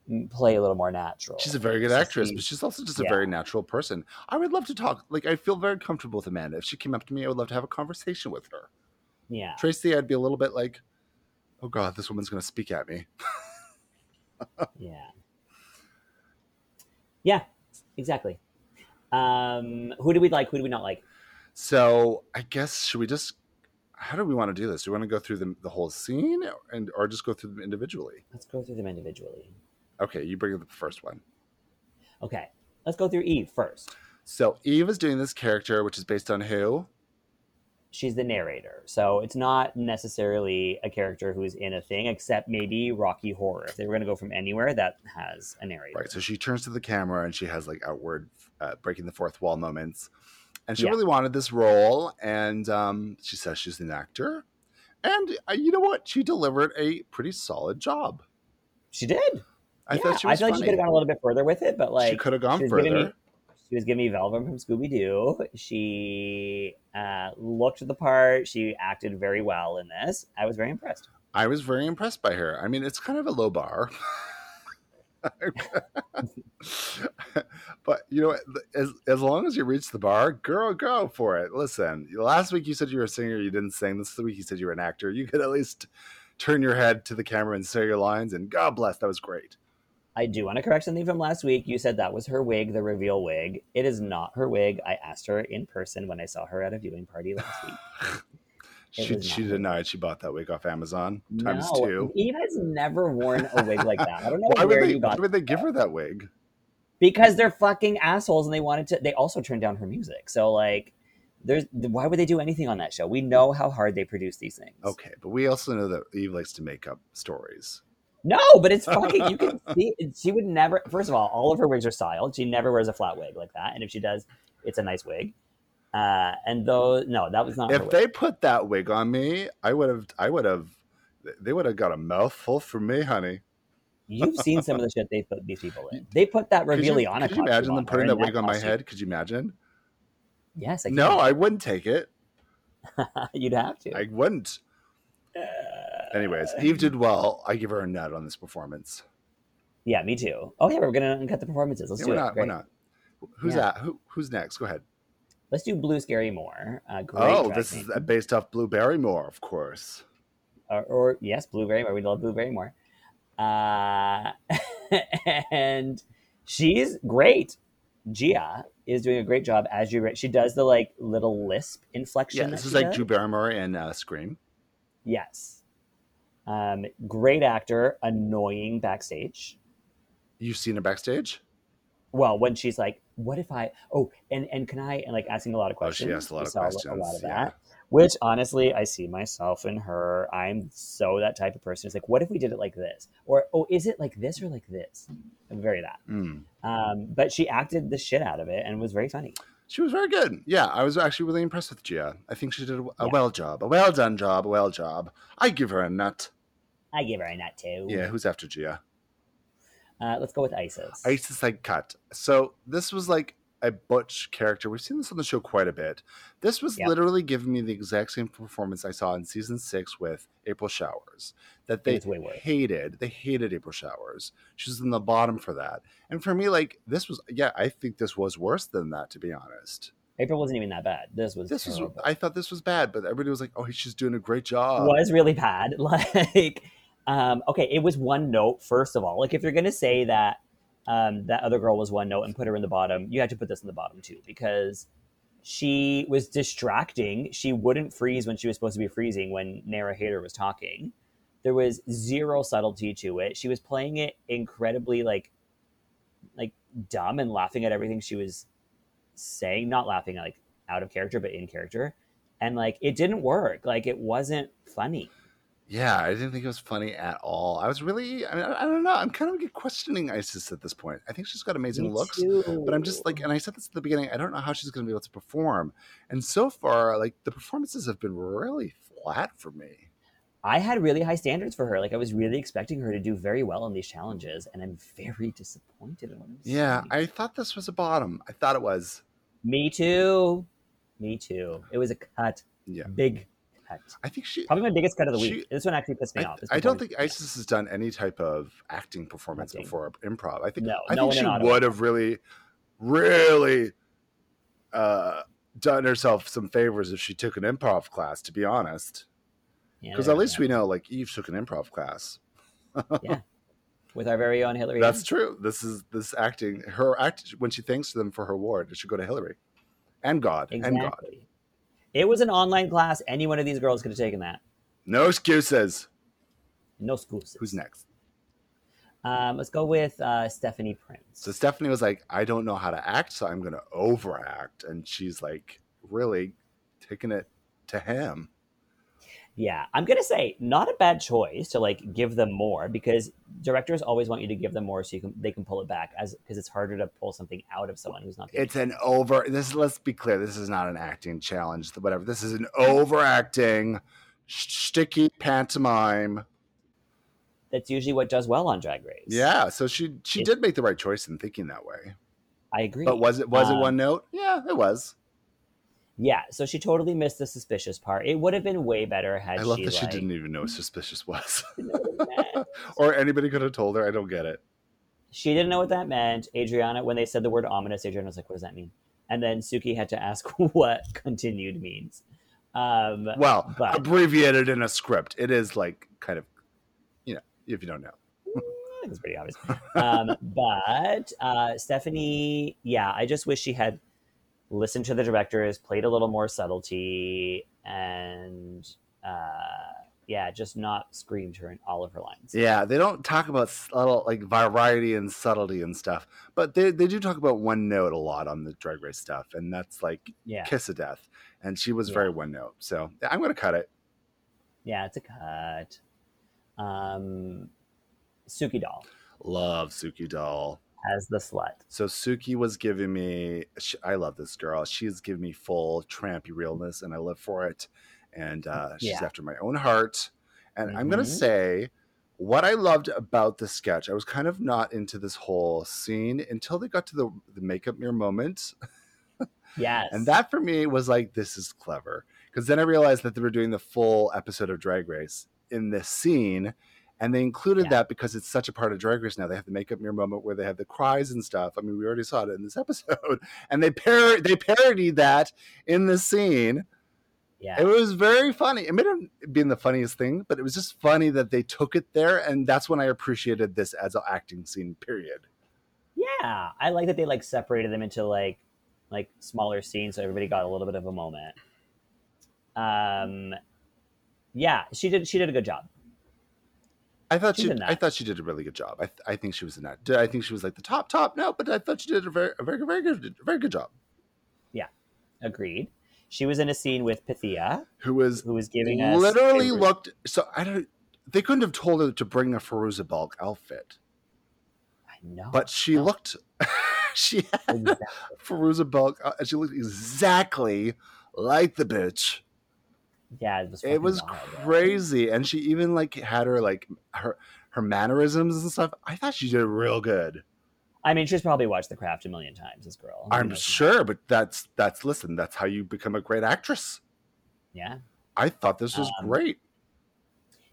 C: m- play a little more natural.
B: She's a very good
C: She's-
B: actress, but she's also just a
C: yeah.
B: very natural person. I would love to talk. Like I feel very comfortable with Amanda. If she came up to me, I would love to have a conversation with her.
C: yeah.
B: Tracy, I'd be a little bit like, oh god, this woman's gonna speak at me.
C: Yeah. Yeah, exactly. Um, who do we like? Who do we not like?
B: So I guess should we just? How do we want to do this? Do we want to go through the, the whole scene, and or just go through them individually?
C: Let's go through them individually.
B: Okay, you bring up the first one.
C: Okay. Let's go through Eve first.
B: So Eve is doing this character, which is based on who?
C: She's the narrator. So it's not necessarily a character who's in a thing, except maybe Rocky Horror. If they were going to go from anywhere, that has a narrator.
B: Right. So she turns to the camera and she has like outward uh, breaking the fourth wall moments. And she
C: Yeah.
B: really wanted this role. And um, she says she's an actor. And uh, you know what? She delivered a pretty solid job.
C: She did.
B: I
C: Yeah,
B: thought she was
C: I feel like she
B: funny.
C: could have gone a little bit further with it, but like
B: she could have gone
C: she was giving
B: further.
C: me- she was giving me Velvet from Scooby Doo. She uh, looked the part. She acted very well in this. I was very impressed.
B: I was very impressed by her. I mean, it's kind of a low bar. but you know, as as long as you reach the bar, girl, go for it. Listen, last week you said you were a singer, you didn't sing. This week you said you were an actor. You could at least turn your head to the camera and say your lines. And God bless, that was great.
C: I do want to correct something from last week. You said that was her wig, the reveal wig. It is not her wig. I asked her in person when I saw her at a viewing party last week. It
B: She
C: was not
B: she
C: her.
B: denied she bought that wig off Amazon times
C: no,
B: two.
C: Eve has never worn a wig like that. I don't know
B: Why
C: where
B: would they?
C: you
B: Why
C: got
B: would they give her that wig?
C: because they're fucking assholes and they wanted to. They also turned down her music. So like, there's why would they do anything on that show? We know how hard they produce these things.
B: Okay, but we also know that Eve likes to make up stories.
C: No, but it's fucking. You can see she would never. First of all, all of her wigs are styled. She never wears a flat wig like that, and if she does, it's a nice wig. Uh, and though no, that was not. her
B: if
C: wig.
B: they put that wig on me, I would have, I would have, they would have got a mouthful from me, honey.
C: You've seen some of the shit they put these people in. They put that
B: Could you,
C: Ravigliana on
B: could you imagine them putting that wig on my
C: costume.
B: head? Could you imagine?
C: Yes, I can.
B: No, I wouldn't take it.
C: you'd have to.
B: I wouldn't. Anyways,
C: Uh,
B: Eve did well. I give her a nut on this performance.
C: yeah, me too. Oh yeah, we're gonna uncut the performances. Let's
B: Yeah,
C: do
B: why
C: it.
B: not? Why
C: Great.
B: not? Who's
C: Yeah.
B: that? Who, who's next? Go ahead.
C: Let's do Blue Scary Moore. Uh, great
B: oh,
C: drag
B: this
C: name.
B: is uh, based off Blue Barrymore, of course.
C: or, or yes, blueberry more. We love blueberry more. Uh, and she's great. Gia is doing a great job as you. She does the like little lisp inflection.
B: Yeah,
C: that
B: this is
C: she
B: like
C: does.
B: Drew Barrymore in uh, Scream.
C: Yes. Um, great actor, annoying backstage.
B: You've seen her backstage?
C: Well, when she's like, "What if I?" Oh, and and can I? And like asking a lot of
B: Oh, she
C: questions.
B: asked a lot
C: We
B: of
C: saw A lot
B: questions,
C: of
B: yeah.
C: that. Which honestly, I see myself in her. I'm so that type of person. It's like, what if we did it like this? Or oh, is it like this or like this? I'm very that.
B: Mm.
C: Um, but she acted the shit out of it and was very funny.
B: She was very good. Yeah, I was actually really impressed with Gia. I think she did a, a
C: Yeah.
B: well job, a well done job, a well job. I give her a nut.
C: I give her a nut too.
B: Yeah, who's after Gia?
C: Uh, let's go with Isis.
B: Isis like cut. So this was like a butch character. We've seen this on the show quite a bit. This was
C: Yep.
B: literally giving me the exact same performance I saw in season six with April Showers. That they
C: was way worse.
B: hated. They hated April Showers. She was in the bottom for that. And for me, like this was yeah, I think this was worse than that, to be honest.
C: April wasn't even that bad. This was
B: This was
C: terrible.
B: I thought this was bad, but everybody was like, Oh, she's doing a great job.
C: was really bad. Like, um, okay, it was one note. First of all, like if you're gonna say that um, that other girl was one note and put her in the bottom, you had to put this in the bottom too because she was distracting. She wouldn't freeze when she was supposed to be freezing when Nara Hader was talking. There was zero subtlety to it. She was playing it incredibly like like dumb and laughing at everything she was saying, not laughing like out of character, but in character. And like it didn't work. Like it wasn't funny.
B: Yeah, I didn't think it was funny at all. I was really, I mean, I I don't know. I'm kind of questioning Isis at this point. I think she's got amazing
C: Me
B: looks,
C: too.
B: but I'm just like, and I said this at the beginning, I don't know how she's going to be able to perform. And so far, like, the performances have been really flat for me.
C: I had really high standards for her. Like I was really expecting her to do very well in these challenges, and I'm very disappointed in what I'm
B: Yeah,
C: seeing.
B: I thought this was a bottom. I thought it was.
C: Me too. Me too. It was a cut.
B: Yeah.
C: Big cut.
B: I think she.
C: Probably my biggest cut of the week.
B: She-
C: this one actually pissed me
B: I,
C: off. This
B: I don't
C: performance-
B: think Isis has done any type of acting performance
C: Nothing.
B: before improv. I think
C: No,
B: I think
C: no one in
B: she
C: Ottawa.
B: would have really, really uh, done herself some favors if she took an improv class. To be honest,
C: Yeah,
B: because
C: there
B: at
C: we
B: least
C: go.
B: we know like Eve took an improv class.
C: with our very own Hillary.
B: That's true. This is this acting. Her act when she thanks them for her award, it should go to Hillary and God
C: exactly.
B: and God.
C: It was an online class. Any one of these girls could have taken that.
B: No excuses.
C: No schools.
B: Who's next?
C: Um, let's go with uh, Stephanie Prince.
B: So Stephanie was like, I don't know how to act, so I'm going to overact. And she's like, really taking it to him.
C: Yeah, I'm gonna say not a bad choice to like give them more because directors always want you to give them more so you can they can pull it back as because it's harder to pull something out of someone who's not. Good.
B: It's an over. This let's be clear. This is not an acting challenge. Whatever. This is an overacting, sticky pantomime.
C: That's usually what does well on Drag Race.
B: Yeah. So she she did make the right choice in thinking that way.
C: I agree.
B: But was it was it
C: Um,
B: one note? Yeah, it was.
C: Yeah, so she totally missed the suspicious part. It would have been way better had
B: I love
C: she
B: that she
C: like,
B: didn't even know suspicious was,
C: know what it meant.
B: or anybody could have told her. I don't get it.
C: She didn't know what that meant. Adriana, when they said the word ominous, Adriana was like, "What does that mean?" And then Suki had to ask what continued means. Um,
B: Well,
C: But-
B: abbreviated in a script, it is like kind of, you know, if you don't know.
C: I think it's pretty obvious. Um, but uh, Stephanie, yeah, I just wish she had listened to the directors, played a little more subtlety, and uh, yeah, just not screamed her in all of her lines.
B: Yeah, they don't talk about subtle like variety and subtlety and stuff, but they they do talk about one note a lot on the Drag Race stuff, and that's like
C: Yeah,
B: kiss of death. And she was
C: Yeah.
B: very one note, so I'm gonna cut it.
C: yeah, it's a cut. Um, Suki doll
B: Love Suki doll.
C: as the slut.
B: So Suki was giving me. She, I love this girl. She's giving me full trampy realness, and I live for it. And uh, she's
C: Yeah.
B: after my own heart. And I'm gonna
C: Mhm.
B: say what I loved about the sketch. I was kind of not into this whole scene until they got to the, the makeup mirror moment.
C: Yes,
B: And that for me was like, this is clever. Because then I realized that they were doing the full episode of Drag Race in this scene. And they included
C: Yeah.
B: that because it's such a part of Drag Race now. They have the makeup mirror moment where they have the cries and stuff. I mean, we already saw it in this episode. And they par- they parodied that in the scene.
C: yeah.
B: It was very funny. It may not have been the funniest thing, but it was just funny that they took it there. And that's when I appreciated this as an acting scene, period.
C: Yeah, I like that they like separated them into like like smaller scenes, so everybody got a little bit of a moment. Um, yeah, she did. She did a good job.
B: I thought
C: She
B: she,
C: did
B: I
C: not.
B: thought she did a really good job. I, th- I think she was in that. I think she was like the top top. No, but I thought she did a very a very very good very good job.
C: Agreed. She was in a scene with Pythia,
B: Who was
C: who was giving us
B: literally
C: a-
B: looked so I don't. They couldn't have told her to bring a Feruza Balk outfit,
C: I know,
B: but she looked. she had
C: exactly.
B: Feruza Balk. uh, She looked exactly like the bitch.
C: yeah, it was.
B: it was crazy and she even like had her like her her mannerisms and stuff i thought she did real good
C: I mean, she's probably watched The Craft a million times. This girl. Who
B: i'm
C: knows?
B: sure but that's that's listen that's how you become a great actress
C: Yeah,
B: i thought this was
C: Um,
B: great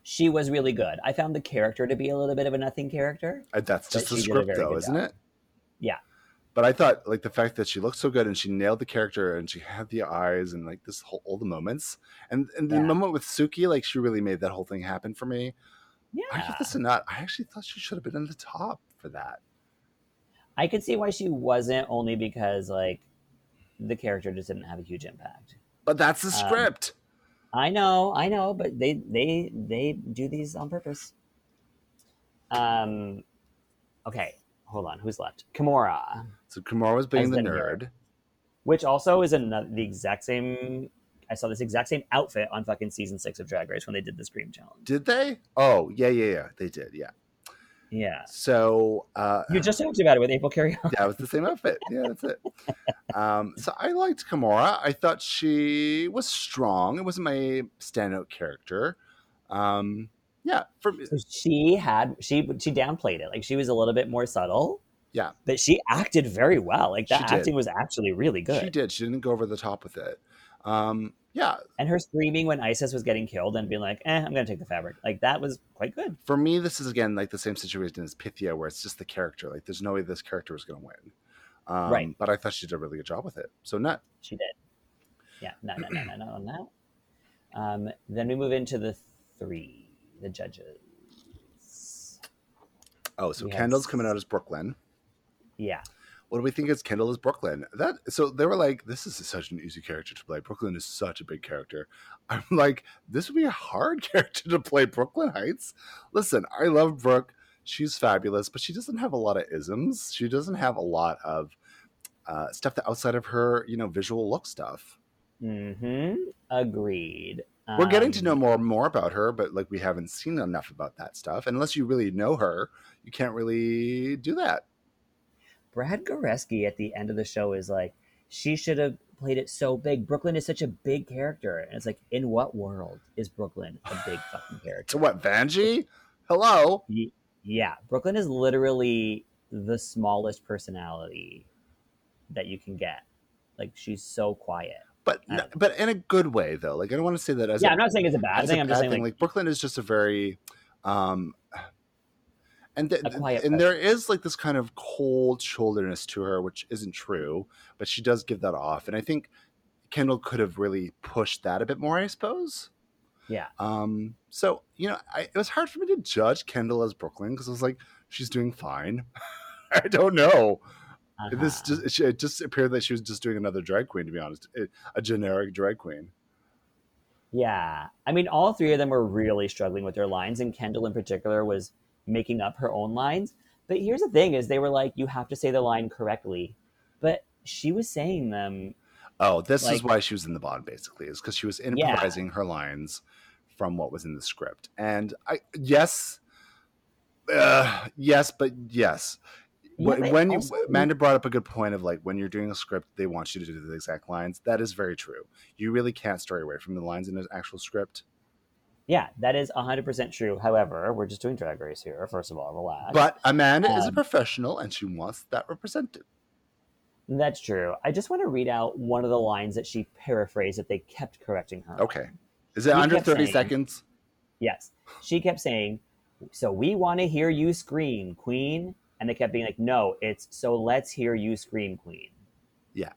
C: she was really good. I found the character to be a little bit of a nothing character.
B: Uh, that's
C: but
B: just the
C: she did a
B: script
C: very
B: though
C: good
B: isn't
C: job.
B: it
C: Yeah.
B: but i thought like the fact that she looked so good and she nailed the character and she had the eyes and like this whole all the moments and and the
C: Yeah.
B: moment with suki like she really made that whole thing happen for me
C: Yeah,
B: i give this a nut i actually thought she should have been in the top for that
C: I could see why she wasn't only because like the character just didn't have a huge impact.
B: but that's the
C: Um,
B: script
C: I know, I know, but they they they do these on purpose. Um okay, hold on, who's left? Kimora.
B: So Kumar was being
C: As
B: the
C: the
B: nerd.
C: nerd. which also is another the exact same. I saw this exact same outfit on fucking season six of Drag Race when they did the Scream Challenge.
B: Did they? Oh, yeah, yeah, yeah. They did. Yeah.
C: Yeah,
B: So uh,
C: you just talked about it with April Carrion.
B: that was the same outfit. Yeah, that's it. Um, so I liked Kimora. I thought she was strong. It wasn't my standout character. Um, yeah, for me,
C: She had she she downplayed it. Like she was a little bit more subtle.
B: Yeah.
C: but she acted very well. Like that
B: She did.
C: acting was actually really good.
B: she did. She didn't go over the top with it. Um, yeah,
C: and her screaming when Isis was getting killed and being like, eh, I'm going to take the fabric. Like, that was quite good.
B: for me, this is again like the same situation as Pythia, where it's just the character. Like, there's no way this character is going to win. Um,
C: Right.
B: But I thought she did a really good job with it. So not
C: She did. Yeah, no, no, no, no, no, on that. Um, then we move into the three, the judges.
B: oh, so
C: Yes.
B: Kendall's coming out as Brooklyn.
C: Yeah.
B: What do we think is Kendall is Brooklyn? That so they were like, this is such an easy character to play. Brooklyn is such a big character. I'm like, this would be a hard character to play. Brooklyn Heights. Listen, I love Brooke. She's fabulous, but she doesn't have a lot of isms. She doesn't have a lot of uh, stuff that outside of her, you know, visual look stuff.
C: hmm Agreed.
B: We're getting to
C: Um,
B: know more more about her, but like we haven't seen enough about that stuff. Unless you really know her, you can't really do that.
C: Brad Goreski at the end of the show is like, she should have played it so big. Brooklyn is such a big character. And it's like, in what world is Brooklyn a big fucking character?
B: So what, Vanjie? Hello.
C: Yeah, Brooklyn is literally the smallest personality that you can get. Like she's so quiet.
B: but
C: I
B: n-
C: don't
B: but in a good way though. Like I don't want to say that as
C: yeah,
B: a,
C: I'm not saying it's a bad
B: as a
C: thing. I'm just
B: bad
C: saying
B: thing.
C: like,
B: Like, Brooklyn is just a very, um, and th-
C: A quiet
B: and there is like this kind of cold shoulderness to her, which isn't true, but she does give that off, and I think Kendall could have really pushed that a bit more, I suppose.
C: yeah,
B: Um, so you know, I, it was hard for me to judge Kendall as Brooklyn because I was like, she's doing fine. I don't know. This
C: uh-huh.
B: just, she- it just appeared that she was just doing another drag queen, to be honest, a- a generic drag queen.
C: yeah. I mean, all three of them were really struggling with their lines, and Kendall in particular was making up her own lines. But here's the thing: is they were like, you have to say the line correctly, but she was saying them.
B: Oh, this is
C: Like-
B: why she was in the bond basically, is because she was improvising her lines from what was in the script. And I yes, uh, yes, but yes.
C: Yeah,
B: When
C: but
B: when you,
C: also-
B: Amanda brought up a good point of like when you're doing a script, they want you to do the exact lines. That is very true. You really can't stray away from the lines in an actual script.
C: yeah, that is 100 percent true. However, we're just doing Drag Race here. First of all, relax.
B: But Amanda is a
C: Um,
B: professional and she wants that represented.
C: That's true. I just want to read out one of the lines that she paraphrased that they kept correcting her. on.
B: Okay. Is it
C: you
B: under
C: kept
B: 30
C: saying-
B: seconds?
C: Yes. She kept saying, So we want to hear you scream, Queen. And they kept being like, No, it's so let's hear you scream, Queen.
B: Yeah.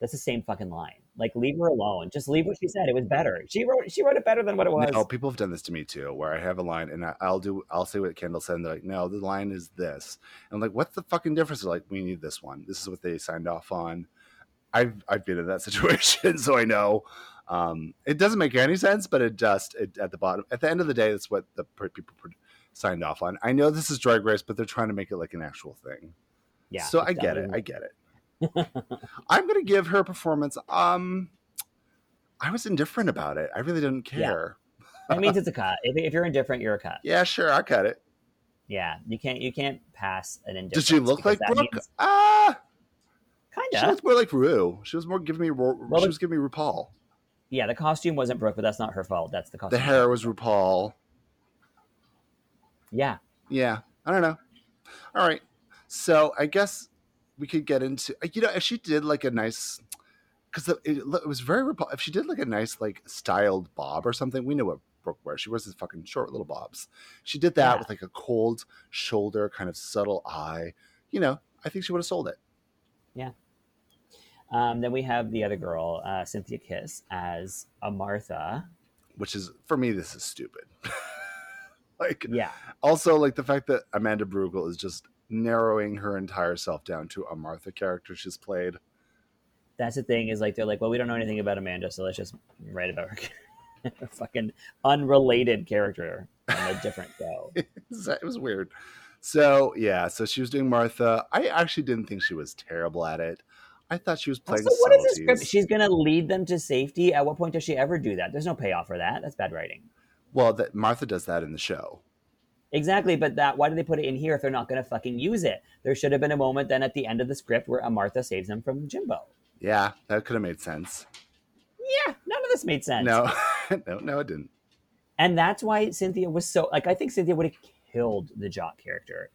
C: That's the same fucking line. Like, leave her alone. Just leave what she said. It was better. She wrote she wrote it better than what it was.
B: No, people have done this to me too, where I have a line and I, I'll do, I'll say what Kendall said, and they're like, "No, the line is this," and I'm like, "What's the fucking difference?" They're like, "We need this one. This is what they signed off on." I've I've been in that situation, so I know. Um, it doesn't make any sense, but it just it, at the bottom, at the end of the day, that's what the pr- people pr- signed off on. I know this is Drag Race, but they're trying to make it like an actual thing.
C: yeah.
B: So I
C: it's
B: get it.
C: definitely-
B: I get it. I'm gonna give her performance. Um, I was indifferent about it. I really didn't
C: Yeah.
B: care.
C: that means it's a cut. If, if you're indifferent, you're a cut.
B: yeah sure, I cut it.
C: Yeah. You can't you can't pass an
B: Did
C: indifference.
B: she look
C: because
B: like
C: that
B: Brooke?
C: means-
B: Ah, she
C: Kinda.
B: looked more like Rue. She was more giving me. Ru-
C: Well,
B: she
C: the-
B: was giving me RuPaul.
C: Yeah, the costume wasn't Brooke, but that's not her fault. That's the costume.
B: The hair was RuPaul.
C: Yeah.
B: Yeah, I don't know. All right, so I guess we could get into. uh, You know, if she did like a nice, because it, it was very RuPaul. If she did like a nice like styled bob or something, we know what Brooke wears. She wears these fucking short little bobs. She did that
C: Yeah.
B: with like a cold shoulder, kind of subtle eye. You know, I think she would have sold it.
C: Um, then we have the other girl, uh, Cynthia Kiss, as a Martha.
B: Which is for me, this is stupid. like
C: Yeah,
B: also like the fact that Amanda Brugel is just narrowing her entire self down to a Martha character she's played.
C: that's the thing is like they're like, well, we don't know anything about Amanda, so let's just write about her, her fucking unrelated character on a different show.
B: it was weird. So yeah, so she was doing Martha. I actually didn't think she was terrible at it. I thought she was playing.
C: Also, what is this
B: subtleties.
C: script? She's gonna lead them to safety. At what point does she ever do that? There's no payoff for that. That's bad writing.
B: Well, that Martha does that in the show.
C: Exactly, but that why do they put it in here if they're not gonna fucking use it? There should have been a moment then at the end of the script where Martha saves them from Jimbo.
B: Yeah, that could have made sense.
C: Yeah, none of this made sense.
B: No, no, no, it didn't.
C: And that's why Cynthia was so like I think Cynthia would have killed the jock character.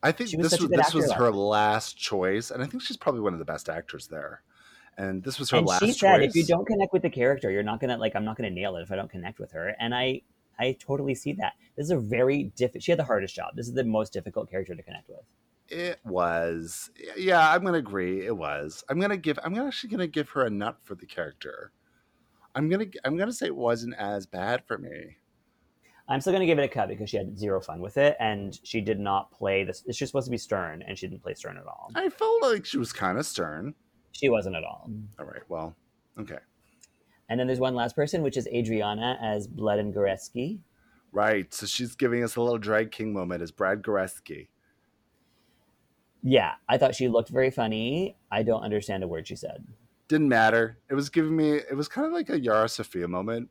B: I think
C: She was
B: this
C: such a
B: was
C: good
B: this
C: actor,
B: was
C: though.
B: her last choice, and I think she's probably one of the best actors there. And this was her
C: and
B: last
C: she said
B: choice.
C: if you don't connect with the character you're not gonna like i'm not gonna nail it if i don't connect with her and i i totally see that this is a very difficult she had the hardest job this is the most difficult character to connect with
B: It was, yeah, I'm gonna agree. It was. I'm gonna give. I'm actually gonna give her a nut for the character. I'm gonna. I'm gonna say it wasn't as bad for me.
C: i'm still gonna give it a cut because she had zero fun with it and she did not play this she's supposed to be stern and she didn't play stern at all
B: I felt like she was kind of stern.
C: she wasn't at all
B: All right. Well. Okay.
C: and then there's one last person which is adriana as blood and goretzky
B: Right. So she's giving us a little drag king moment as Brad Goreski.
C: yeah i thought she looked very funny i don't understand a word she said
B: Didn't matter. It was giving me. It was kind of like a Yara Sofia moment.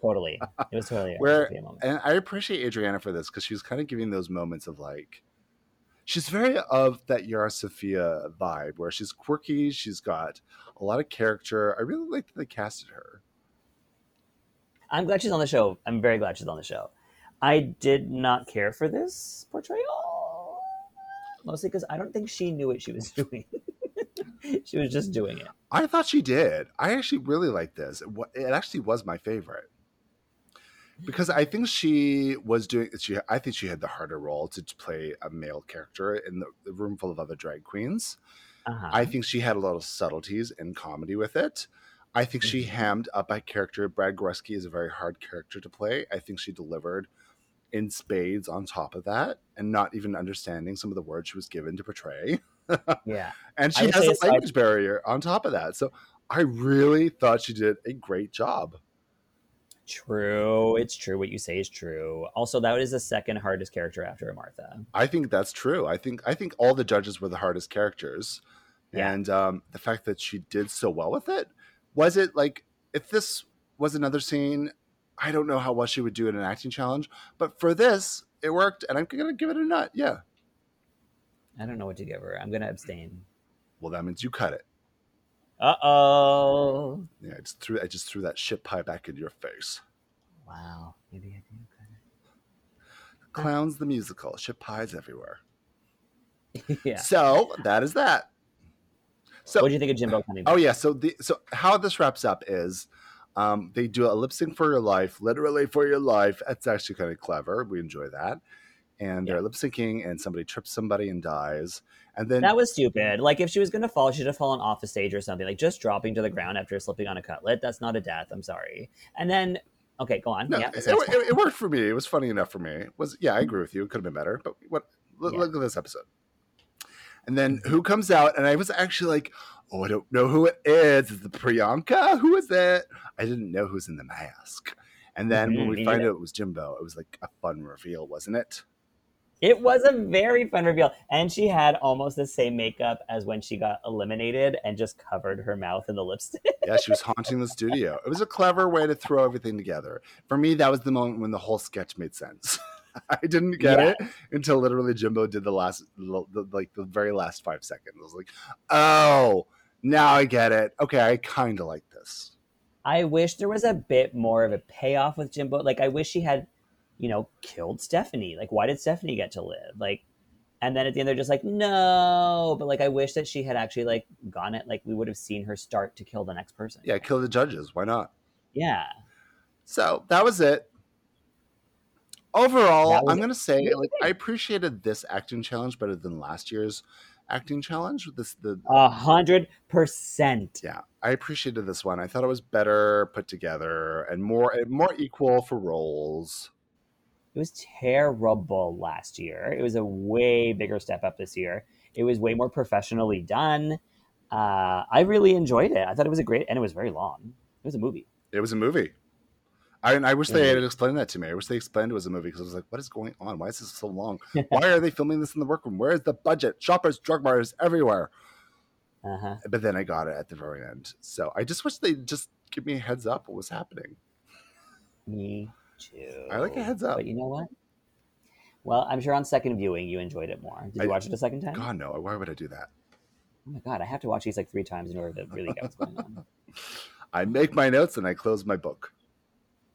C: totally it was totally a
B: Where-
C: Sophia moment.
B: and I appreciate Adriana for this because she was kind of giving those moments of like, she's very of that Yara Sofia vibe where she's quirky, she's got a lot of character. I really liked that they casted her.
C: I'm glad she's on the show. I'm very glad she's on the show. I did not care for this portrayal, mostly because I don't think she knew what she was doing. she was just doing it.
B: I thought she did. I actually really liked this. It wa- It actually was my favorite because I think she was doing. She, I think she had the harder role to play a male character in the, the room full of other drag queens.
C: Uh-huh.
B: I think she had a lot of subtleties and comedy with it. I think she
C: Mm-hmm.
B: hammed up a character. Brad Goreski is a very hard character to play. I think she delivered in spades on top of that, and not even understanding some of the words she was given to portray.
C: yeah,
B: And
C: I
B: she
C: would
B: has
C: say
B: a
C: aside-
B: language barrier on top of that. So I really thought she did a great job.
C: true. It's true. What you say is true. Also, that is the second hardest character after Martha.
B: I think that's true. I think I think all the judges were the hardest characters,
C: Yeah.
B: and um, the fact that she did so well with it was it like if this was another scene, I don't know how well she would do in an acting challenge, but for this it worked, and I'm gonna give it a nut. Yeah.
C: I don't know what to give her. I'm gonna abstain.
B: Well, that means you cut it.
C: Uh oh.
B: Yeah, I just threw I just threw that shit pie back in your face.
C: Wow. Maybe I do. kinda-
B: Clowns the musical, shit pies everywhere.
C: yeah.
B: So that is that. So
C: What do you think of Jimbo coming back?
B: Oh yeah. So the so how this wraps up is um, they do a lip sync for your life, literally for your life. That's actually kind of clever. We enjoy that. And they're
C: Yeah.
B: lip syncing, and somebody trips somebody and dies, and then
C: That was stupid. Like if she was gonna fall, she should have fallen off the stage or something. Like just dropping to the ground after slipping on a cutlet. That's not a death. I'm sorry. And then okay, go on.
B: no,
C: yeah,
B: it,
C: this next
B: it- it worked for me. It was funny enough for me. It was yeah, I agree with you. It could have been better, but what? Look,
C: Yeah. Mm-hmm.
B: look at this episode. And then who comes out? And I was actually like, oh, I don't know who it is. Is it Priyanka? Who is it? I didn't know who's in the mask. And then when
C: Mhm,
B: we
C: me
B: find out
C: neither.
B: it was Jimbo, it was like a fun reveal, wasn't it?
C: It was a very fun reveal. And she had almost the same makeup as when she got eliminated and just covered her mouth in the lipstick.
B: yeah, she was haunting the studio. It was a clever way to throw everything together. For me, that was the moment when the whole sketch made sense. I didn't get
C: Yeah.
B: it until literally Jimbo did the last, the, the- like the very last five seconds. I was like, oh, now I get it. Okay, I kind of like this.
C: I wish there was a bit more of a payoff with Jimbo. Like I wish she had, you know, killed Stephanie. Like why did Stephanie get to live? Like and then at the end they're just like, no. But like I wish that she had actually like gone it like we would have seen her start to kill the next person.
B: Yeah, kill the judges. Why not?
C: Yeah.
B: So that was it. Overall,
C: That was
B: I'm
C: it.
B: gonna say like I appreciated this acting challenge better than last year's acting challenge. This the
C: A hundred percent.
B: yeah i appreciated this one i thought it was better put together and more and more equal for roles
C: It was terrible last year. It was a way bigger step up this year. It was way more professionally done. Uh, I really enjoyed it. I thought it was a great, and it was very long. It was a movie.
B: it was a movie i, and I wish they
C: Mhm.
B: had explained that to me i wish they explained it was a movie because i was like what is going on why is this so long why are they filming this in the workroom where is the budget shoppers drug bars everywhere
C: Uh-huh.
B: But then I got it at the very end. So I just wish they just give me a heads up what was happening.
C: Me too.
B: I like a heads up.
C: But you know what? Well, I'm sure on second viewing you enjoyed it more. Did you
B: I-
C: watch it a second time?
B: God no, why would I do that?
C: Oh my god, I have to watch these like three times in order to really get what's going on.
B: I make my notes and I close my book.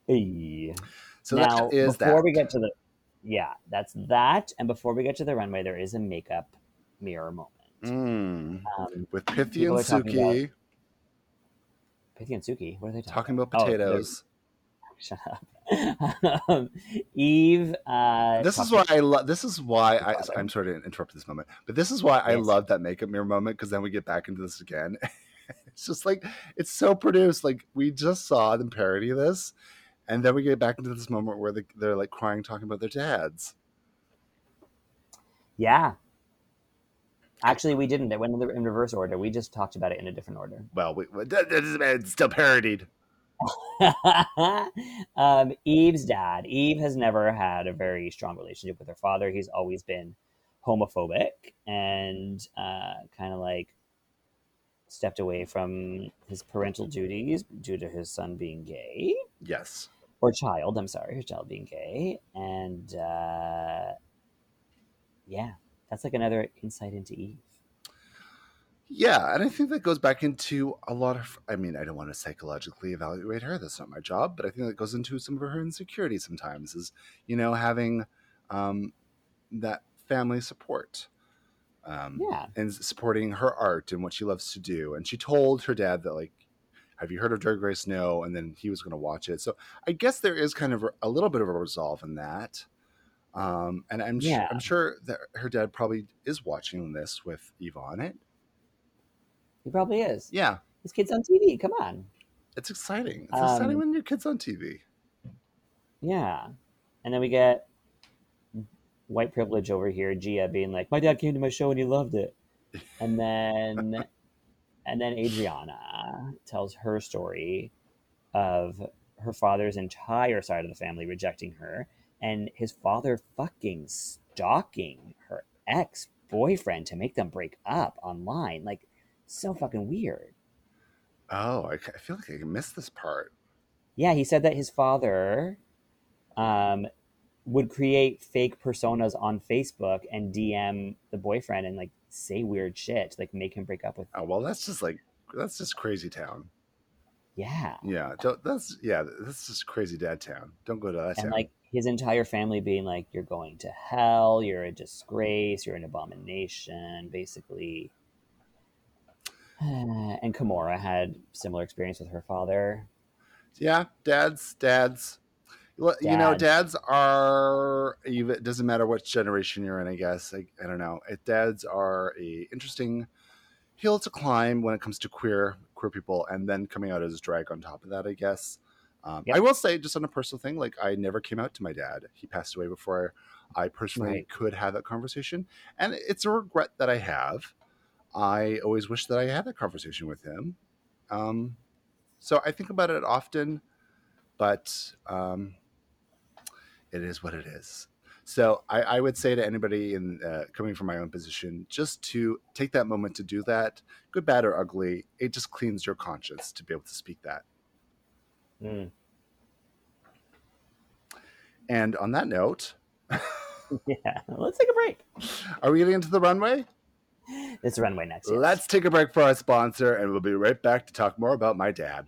C: Hey.
B: So
C: now,
B: that is
C: before
B: that.
C: we get to the yeah, that's that. And before we get to the runway, there is a makeup mirror moment.
B: Mm.
C: Um,
B: With Pithy
C: People
B: and
C: are talking
B: Suki
C: Pithy and Suki, what are they talking?
B: talking about
C: Oh,
B: potatoes.
C: about? Shut up. um, Eve. Uh,
B: this is
C: talking-
B: why I love. This is why I,
C: Father.
B: I'm sorry to interrupt this moment, but this is why I
C: Yes.
B: love that makeup mirror moment because then we get back into this again. it's just like it's so produced. Like we just saw them parody this, and then we get back into this moment where the, they're like crying, talking about their dads.
C: Yeah. Actually, we didn't. It went in, the, in reverse order. We just talked about it in a different order.
B: Well, we, we- that- that is- it's still parodied.
C: um, Eve's dad. Eve has never had a very strong relationship with her father. He's always been homophobic and uh, kind of like stepped away from his parental duties due to his son being gay
B: Yes,
C: or child. I'm sorry, his child being gay. And uh, yeah, that's like another insight into Eve.
B: yeah, and I think that goes back into a lot of. I mean, I don't want to psychologically evaluate her. That's not my job. But I think that goes into some of her insecurity sometimes. Is you know having um, that family support. Um,
C: Yeah.
B: and supporting her art and what she loves to do. And she told her dad that like, have you heard of Drag Race? No. And then he was going to watch it. So I guess there is kind of a little bit of a resolve in that. Um, and I'm su-
C: Yeah.
B: I'm sure that her dad probably is watching this with Eva on it.
C: He probably is.
B: Yeah,
C: His kid's on TV. Come on.
B: it's exciting. It's
C: Um,
B: exciting when your kid's on TV.
C: Yeah. And then we get white privilege over here, Gia being like, My dad came to my show and he loved it. And then and then Adriana tells her story of her father's entire side of the family rejecting her and his father fucking stalking her ex boyfriend to make them break up online. Like so fucking weird.
B: Oh, I, ca- I feel like I missed this part.
C: Yeah, he said that his father um, would create fake personas on Facebook and DM the boyfriend and like say weird shit, to, like make him break up with.
B: Oh well, that's just like that's just crazy town.
C: Yeah,
B: Yeah, don't, that's yeah, that's just crazy dad town. Don't go to that
C: and
B: town.
C: like his entire family being like, "You're going to hell. You're a disgrace. You're an abomination." Basically. And Kimora had similar experience with her father.
B: Yeah, dads, dads. Well, You know, dads are. you- It doesn't matter what generation you're in. I guess I, I don't know. It, dads are a interesting hill to climb when it comes to queer queer people, and then coming out as drag on top of that. I guess. Um,
C: Yep.
B: I will say, just on a personal thing, like I never came out to my dad. He passed away before I personally
C: Right.
B: could have that conversation, and it's a regret that I have. I always wish that I had that conversation with him. Um, so I think about it often, but um, it is what it is. So I, I would say to anybody in uh, coming from my own position, just to take that moment to do that, good, bad, or ugly, it just cleans your conscience to be able to speak that.
C: Mm.
B: And on that note,
C: Yeah, let's take a break.
B: are we getting into the runway?
C: It's runway next. yes.
B: Let's take a break for our sponsor, and we'll be right back to talk more about my dad.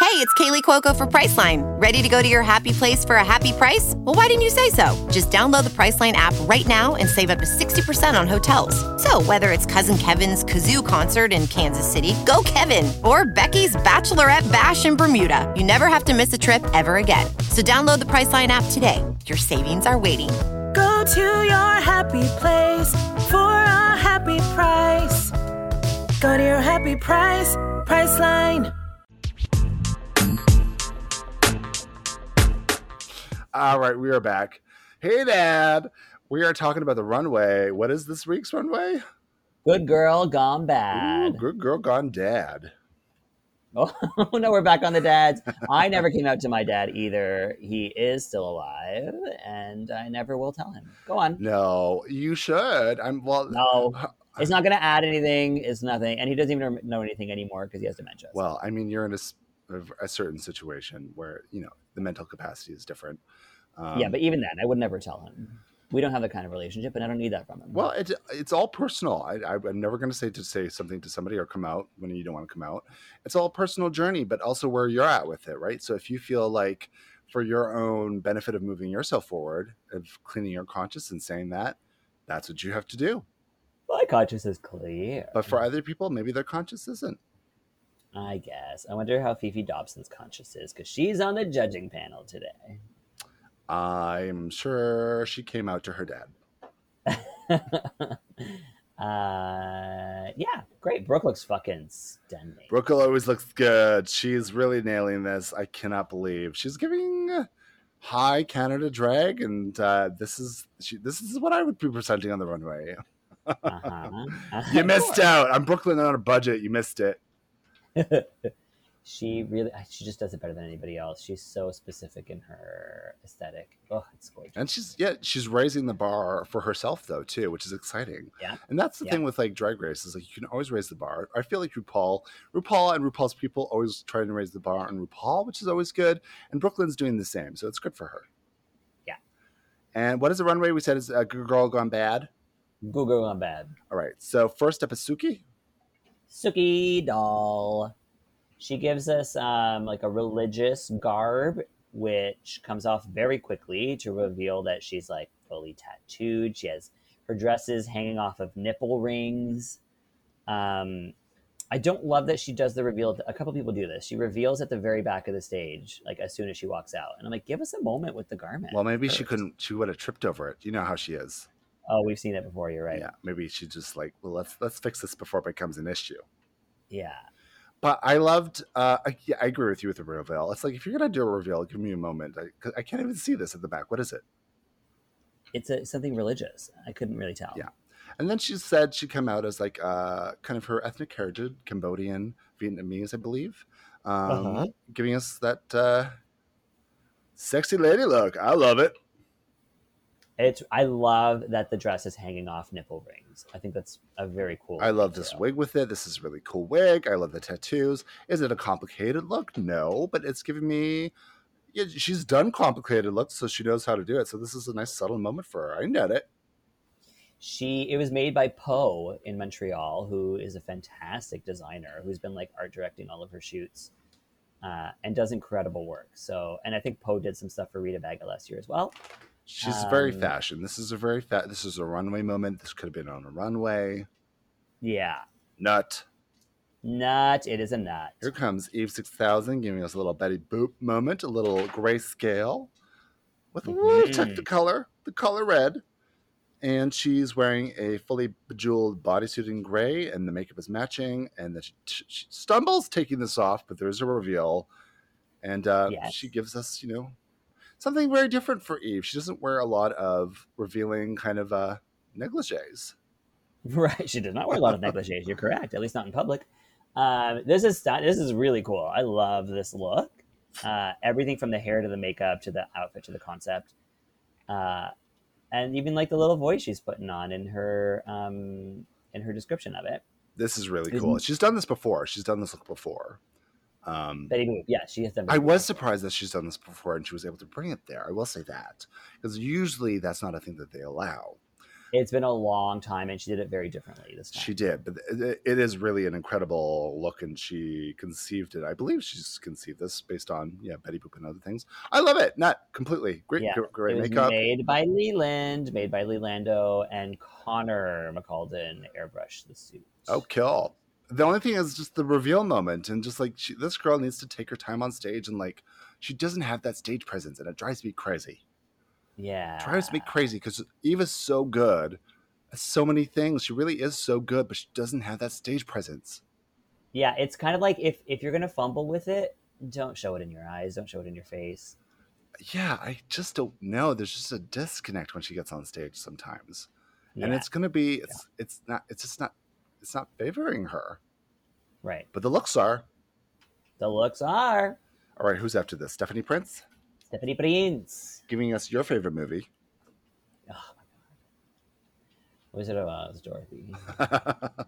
D: Hey, it's Kaylee Cuoco for Priceline. Ready to go to your happy place for a happy price? Well, why didn't you say so? Just download the Priceline app right now and save up to 60% on hotels. So, whether it's Cousin Kevin's Kazoo concert in Kansas City, go Kevin, or Becky's Bachelorette Bash in Bermuda, you never have to miss a trip ever again. So, download the Priceline app today. Your savings are waiting.
E: Go to your happy place for a happy price. Go to your happy price, Priceline.
B: All right, we are back. Hey, Dad. We are talking about the runway. What is this week's runway?
C: Good girl gone
B: Ooh,
C: bad.
B: good girl gone dad.
C: Oh no, we're back on the dads. I never came out to my dad either. He is still alive, and I never will tell him. Go on.
B: No, you should. I'm well.
C: No, it's not going to add anything. It's nothing, and he doesn't even know anything anymore because he has dementia. so-
B: Well, I mean, you're in a, s- of a certain situation where you know the mental capacity is different. Um,
C: yeah, but even then, I would never tell him. We don't have that kind of relationship, and I don't need that from him.
B: well, it, it's all personal. I, I, I'm never going to say to say something to somebody or come out when you don't want to come out. It's all a personal journey, but also where you're at with it, right? So if you feel like for your own benefit of moving yourself forward, of cleaning your conscience and saying that, that's what you have to do.
C: my conscience is clear.
B: But for other people, maybe their conscience isn't.
C: I guess. I wonder how Fifi Dobson's conscious is because she's on the judging panel today.
B: I'm sure she came out to her dad.
C: uh, yeah, great. Brooke looks fucking stunning.
B: Brooke always looks good. She's really nailing this. I cannot believe she's giving high Canada drag, and uh, this is she, this is what I would be presenting on the runway.
C: Uh-huh.
B: You missed out. I'm Brooklyn on a budget. You missed it.
C: she really, she just does it better than anybody else. She's so specific in her aesthetic. Oh, it's gorgeous.
B: And she's yeah, she's raising the bar for herself though too, which is exciting.
C: Yeah.
B: And that's the
C: Yeah.
B: thing with like drag race is like you can always raise the bar. I feel like RuPaul, RuPaul and RuPaul's people always trying to raise the bar on RuPaul, which is always good. And Brooklyn's doing the same, so it's good for her.
C: Yeah.
B: And what is the runway? We said is a good girl gone bad.
C: Google on bad.
B: All right. So first up is Suki.
C: Suki doll. She gives us um, like a religious garb, which comes off very quickly to reveal that she's like fully tattooed. She has her dresses hanging off of nipple rings. Um, I don't love that she does the reveal. A couple people do this. She reveals at the very back of the stage, like as soon as she walks out, and I'm like, give us a moment with the garment.
B: Well, maybe she
C: first."
B: couldn't. She would have tripped over it. You know how she is.
C: Oh, we've seen it before. You're right.
B: Yeah. Maybe she just like, well, let's let's fix this before it becomes an issue.
C: yeah.
B: But I loved. Uh, I, yeah, I agree with you with the reveal. It's like if you're gonna do a reveal, give me a moment. I, 'cause I can't even see this at the back. What is it?
C: It's a, something religious. I couldn't really tell.
B: Yeah. And then she said she come out as like uh, kind of her ethnic heritage, Cambodian, Vietnamese, I believe, um,
C: Uh-huh.
B: giving us that uh, sexy lady look. I love it.
C: It's I love that the dress is hanging off nipple rings. I think that's a very cool.
B: I love this
C: detail.
B: wig with it. This is a really cool wig. I love the tattoos. Is it a complicated look? No, but it's giving me. Yeah, she's done complicated looks, so she knows how to do it. So this is a nice subtle moment for her. I get it.
C: She it was made by Poe in Montreal, who is a fantastic designer who's been like art directing all of her shoots, uh, and does incredible work. So and I think Poe did some stuff for Rita Baga last year as well.
B: She's very
C: Um,
B: fashion. This is a very fat. This is a runway moment. This could have been on a runway.
C: Yeah,
B: Nut.
C: nut. It is a nut.
B: Here comes Eve six thousand, giving us a little Betty Boop moment, a little grayscale, with a little
C: Mhm.
B: tuck the color, the color red, and she's wearing a fully bejeweled bodysuit in gray, and the makeup is matching. And then she, she stumbles taking this off, but there's a reveal, and uh,
C: Yes.
B: she gives us, you know, something very different for Eve. She doesn't wear a lot of revealing kind of uh, negligees.
C: Right. She did not wear a lot of negligees. You're correct. At least not in public. Um, this is sti- this is really cool. I love this look. Uh, everything from the hair to the makeup to the outfit to the concept, uh, and even like the little voice she's putting on in her um, in her description of it.
B: This is really
C: Isn't-
B: cool. She's done this before. She's done this look before. Um,
C: Betty Boop. Yeah, she has done.
B: I was surprised that she's done this before and she was able to bring it there. I will say that because usually that's not a thing that they allow.
C: It's been a long time, and she did it very differently this time.
B: She did, but it it is really an incredible look, and she conceived it. I believe she's conceived this based on yeah Betty Boop and other things. I love it. Not completely great,
C: Yeah,
B: gr- great
C: it was
B: makeup.
C: made by Leland, made by Lelando, and Connor McAlden airbrushed the suit.
B: Oh, kill. The only thing is just the reveal moment, and just like she, this girl needs to take her time on stage, and like she doesn't have that stage presence, and it drives me crazy.
C: yeah.
B: drives me crazy because Eva's so good at so many things. She really is so good, but she doesn't have that stage presence.
C: Yeah, it's kind of like if if you're gonna fumble with it, don't show it in your eyes, don't show it in your face.
B: Yeah, I just don't know. There's just a disconnect when she gets on stage sometimes, and
C: Yeah,
B: it's gonna be it's it's not it's just not it's not favoring her.
C: right.
B: But the looks are
C: The looks are
B: All right, who's after this? Stephanie Prince
C: Stephanie Prince. Oh
B: giving us your favorite movie.
C: Wizard of Oz, Dorothy.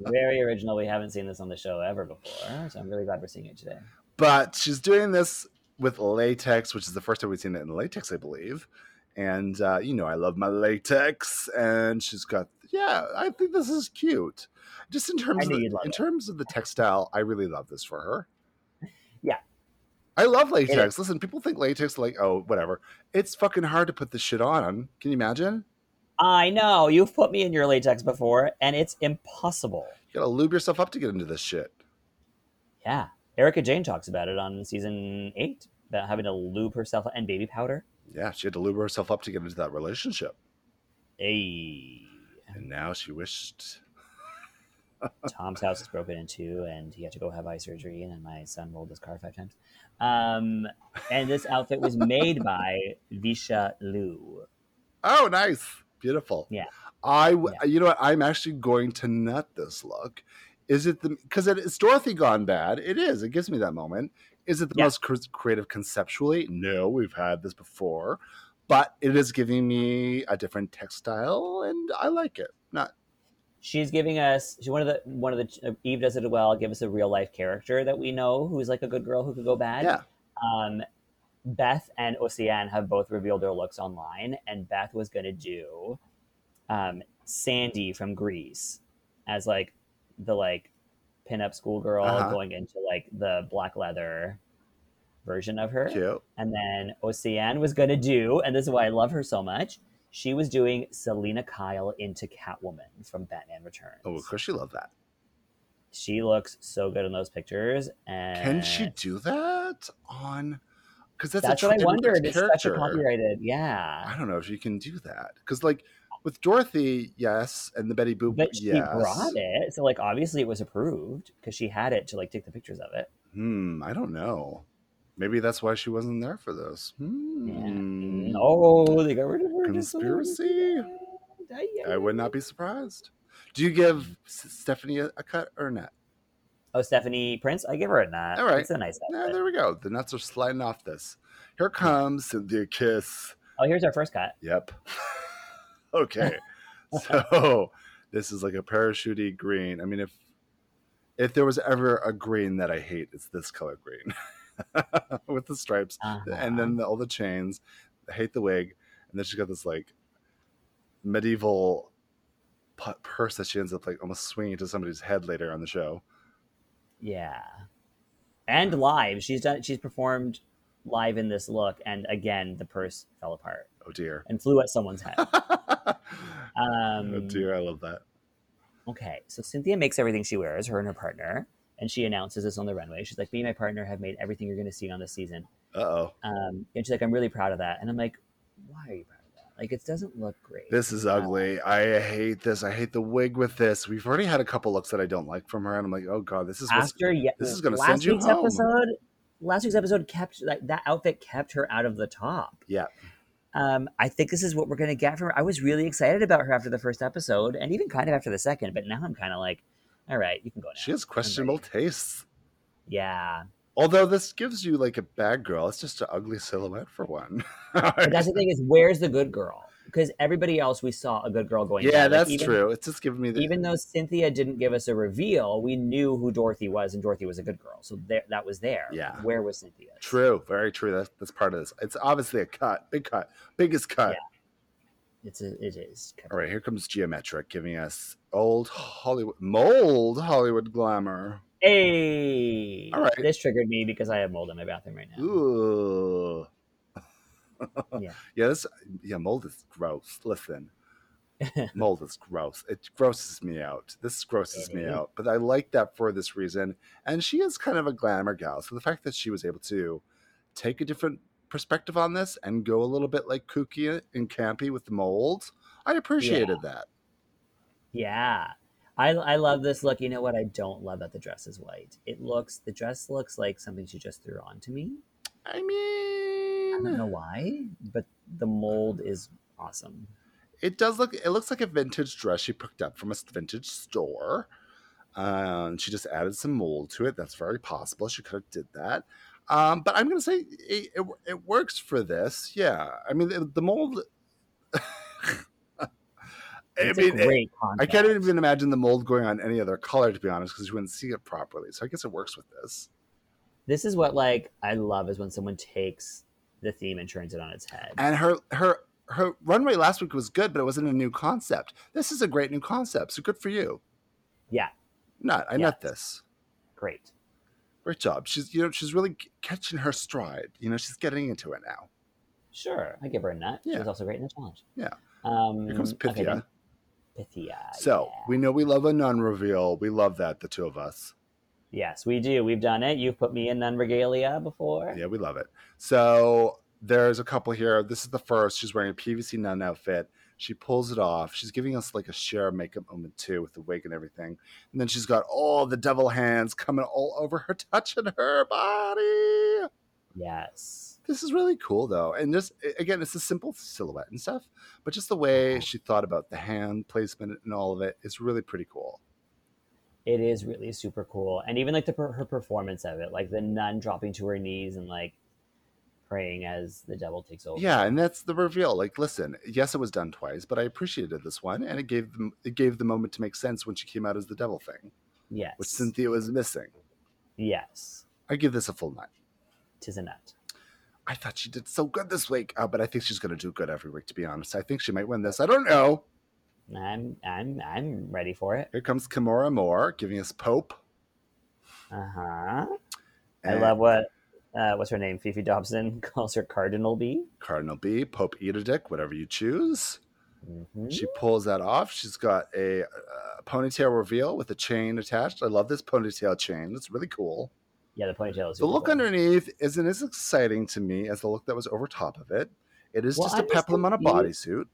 C: Very original. We haven't seen this on the show ever before, so I'm really glad we're seeing it today.
B: but she's doing this with latex, which is the first time we've seen it in latex, I believe. And uh, you know, I love my latex, and she's got yeah. I think this is cute. Just in terms
C: I
B: of
C: knew
B: the,
C: you'd love
B: in
C: it.
B: terms of the textile, I really love this for her.
C: Yeah.
B: I love latex. Listen, people think latex like oh whatever. It's fucking hard to put this shit on. Can you imagine?
C: I know you've put me in your latex before, and it's impossible.
B: You gotta lube yourself up to get into this shit.
C: Yeah, Erica Jane talks about it on season eight about having to lube herself and baby powder.
B: Yeah, she had to lube herself up to get into that relationship,
C: Hey,
B: and now she wished
C: Tom's house is broken in two, and he had to go have eye surgery, and my son rolled his car five times. Um, and this outfit was made by Visha Liu.
B: Oh, nice. Beautiful.
C: Yeah.
B: I, w- you know what? I'm actually going to nut this look. Is it the, because it, it's Dorothy gone bad. It is. It gives me that moment. Is it the
C: Yeah.
B: most cr- creative conceptually? No, we've had this before, but it is giving me a different textile and I like it. Not,
C: she's giving us she one of the one of the Eve does it well. Give us a real life character that we know who's like a good girl who could go bad.
B: yeah.
C: Um, Beth and Oceane have both revealed their looks online, and Beth was going to do um, Sandy from Greece as like the like pinup schoolgirl
B: Uh-huh.
C: going into like the black leather version of her.
B: Cute.
C: And then Oceane was going to do, and this is why I love her so much. She was doing Selena Kyle into Catwoman from Batman Returns.
B: Oh, of course she loved that.
C: She looks so good in those pictures. And
B: Can she do that on, because that's,
C: Uh. That's
B: a
C: what I
B: tra-
C: wondered. It's
B: character.
C: such a copyrighted. Yeah.
B: I don't know if you can do that. Because, like, with Dorothy, yes, and the Betty Boop,
C: But she
B: yes.
C: brought it. So, like, obviously it was approved because she had it to, like, take the pictures of it.
B: Hmm, I don't know. Maybe that's why she wasn't there for this. Hmm.
C: Yeah. Oh, they got rid of her. just so we wouldn't
B: Conspiracy?
C: see that. Yeah,
B: I
C: yeah,
B: would
C: yeah.
B: not be surprised. Do you
C: Mm.
B: give S- Stephanie a, a cut or not?
C: Oh, Stephanie Prince? I give her a nut.
B: All right.
C: It's a nice
B: Yeah,
C: outfit.
B: there we go. The nuts are sliding off this. Here comes Cynthia Kiss.
C: oh, here's our first cut.
B: Yep. okay. so this is like a parachutey green. I mean, if if there was ever a green that I hate, it's this color green with the stripes.
C: Uh-huh.
B: and then the, all the chains. I hate the wig, and then she's got this like medieval pu- purse that she ends up like almost swinging to somebody's head later on the show.
C: Yeah. And live. She's done she's performed live in this look and again the purse fell apart
B: Oh dear,
C: and flew at someone's head.
B: oh
C: Um
B: dear, I love that.
C: Okay, so Cynthia makes everything she wears, her and her partner, and she announces this on the runway. She's like, "Me and my partner have made everything you're going to see on this season,"
B: Uh oh,
C: um, and she's like, "I'm really proud of that." And I'm like, "Why are you proud of that? Like, it doesn't look great."
B: this is ugly. I hate this. I hate the wig with this. We've already had a couple looks that I don't like from her, and I'm like, oh god, this is what's-
C: after ye-
B: this is gonna
C: last
B: send you
C: week's
B: home.
C: episode. Last week's episode kept like that outfit kept her out of the top.
B: yeah.
C: Um, I think this is what we're going to get from her. I was really excited about her after the first episode, and even kind of after the second. But now I'm kind of like, "All right, you can go now."
B: She has questionable tastes.
C: yeah.
B: Although this gives you like a bad girl, it's just an ugly silhouette for one.
C: But that's the thing is, where's the good girl? Because everybody else, we saw a good girl going.
B: yeah,
C: down. Like,
B: that's
C: even-
B: true. It's just giving me the
C: Even though Cynthia didn't give us a reveal, we knew who Dorothy was, and Dorothy was a good girl, so there, that was there.
B: Yeah.
C: where was Cynthia?
B: True, very true. That's that's part of this. It's obviously a cut, big cut, biggest cut.
C: It's a, it is.
B: All right, here comes Geometric giving us old Hollywood mold Hollywood glamour.
C: Hey,
B: All right.
C: This triggered me because I have mold in my bathroom right now.
B: Ooh.
C: Yeah.
B: yeah, this yeah, mold is gross. Listen. mold is gross. It grosses me out. This grosses me
C: Mhm.
B: out. But I like that for this reason. And she is kind of a glamour gal. So the fact that she was able to take a different perspective on this and go a little bit like kooky and campy with the mold, I appreciated that.
C: Yeah. I, I love this look. You know what? I don't love that the dress is white. It looks the dress looks like something she just threw on to me.
B: I
C: I don't
B: mean,
C: know why, but the mold is awesome.
B: it does look it looks like a vintage dress she picked up from a vintage store Um, she just added some mold to it. That's very possible. She could have did that. Um, but I'm going to say it, it, it works for this. Yeah. I mean, the, the mold. I
C: It's a
B: mean, it-
C: great
B: I
C: concept.
B: can't even imagine the mold going on any other color, to be honest, because you wouldn't see it properly. So I guess it works with this.
C: This is what like I love is when someone takes the theme and turns it on its head.
B: And her her her runway last week was good, but it wasn't a new concept. This is a great new concept. So good for you.
C: Yeah,
B: Not I
C: Yeah.
B: nut this.
C: great.
B: Great job. She's you know she's really c- catching her stride. You know she's getting into it now.
C: Sure, I give her a nut. She
B: Yeah.
C: was also great in the challenge.
B: Yeah.
C: Um,
B: Here comes
C: okay,
B: Pythia.
C: then. Pythia.
B: so
C: Uh, yeah.
B: we know we love a non reveal. We love that the two of us.
C: yes, we do. We've done it. You've put me in nun regalia before.
B: Yeah, we love it. So there's a couple here. This is the first. She's wearing a PVC nun outfit. She pulls it off. She's giving us like a share makeup moment too with the wig and everything. And then she's got all the devil hands coming all over her, touching her body.
C: Yes.
B: This is really cool though. And just again, it's a simple silhouette and stuff, but just the way she thought about the hand placement and all of it is really pretty cool.
C: It is really super cool, and even like the per- her performance of it, like the nun dropping to her knees and like praying as the devil takes over.
B: Yeah, and that's the reveal. Like, listen, yes, it was done twice, but I appreciated this one, and it gave them it gave the moment to make sense when she came out as the devil thing,
C: Yes.
B: which Cynthia was missing.
C: yes.
B: I give this a full nine.
C: Tis a nut.
B: I thought she did so good this week, uh, but I think she's going to do good every week. To be honest, I think she might win this. I don't know.
C: I'm I'm I'm ready for it.
B: Here comes Kimora Moore giving us Pope.
C: Uh huh. I
B: and
C: love what uh, what's her name? Fifi Dobson calls her Cardinal B.
B: Cardinal B, Pope Ededick, whatever you choose.
C: Mhm.
B: She pulls that off. She's got a uh, ponytail reveal with a chain attached. I love this ponytail chain. It's really cool.
C: Yeah, the ponytail is
B: The
C: super
B: look
C: cool.
B: underneath isn't as exciting to me as the look that was over top of it. It is
C: Well,
B: just a
C: I'm just
B: peplum on a
C: confused.
B: bodysuit.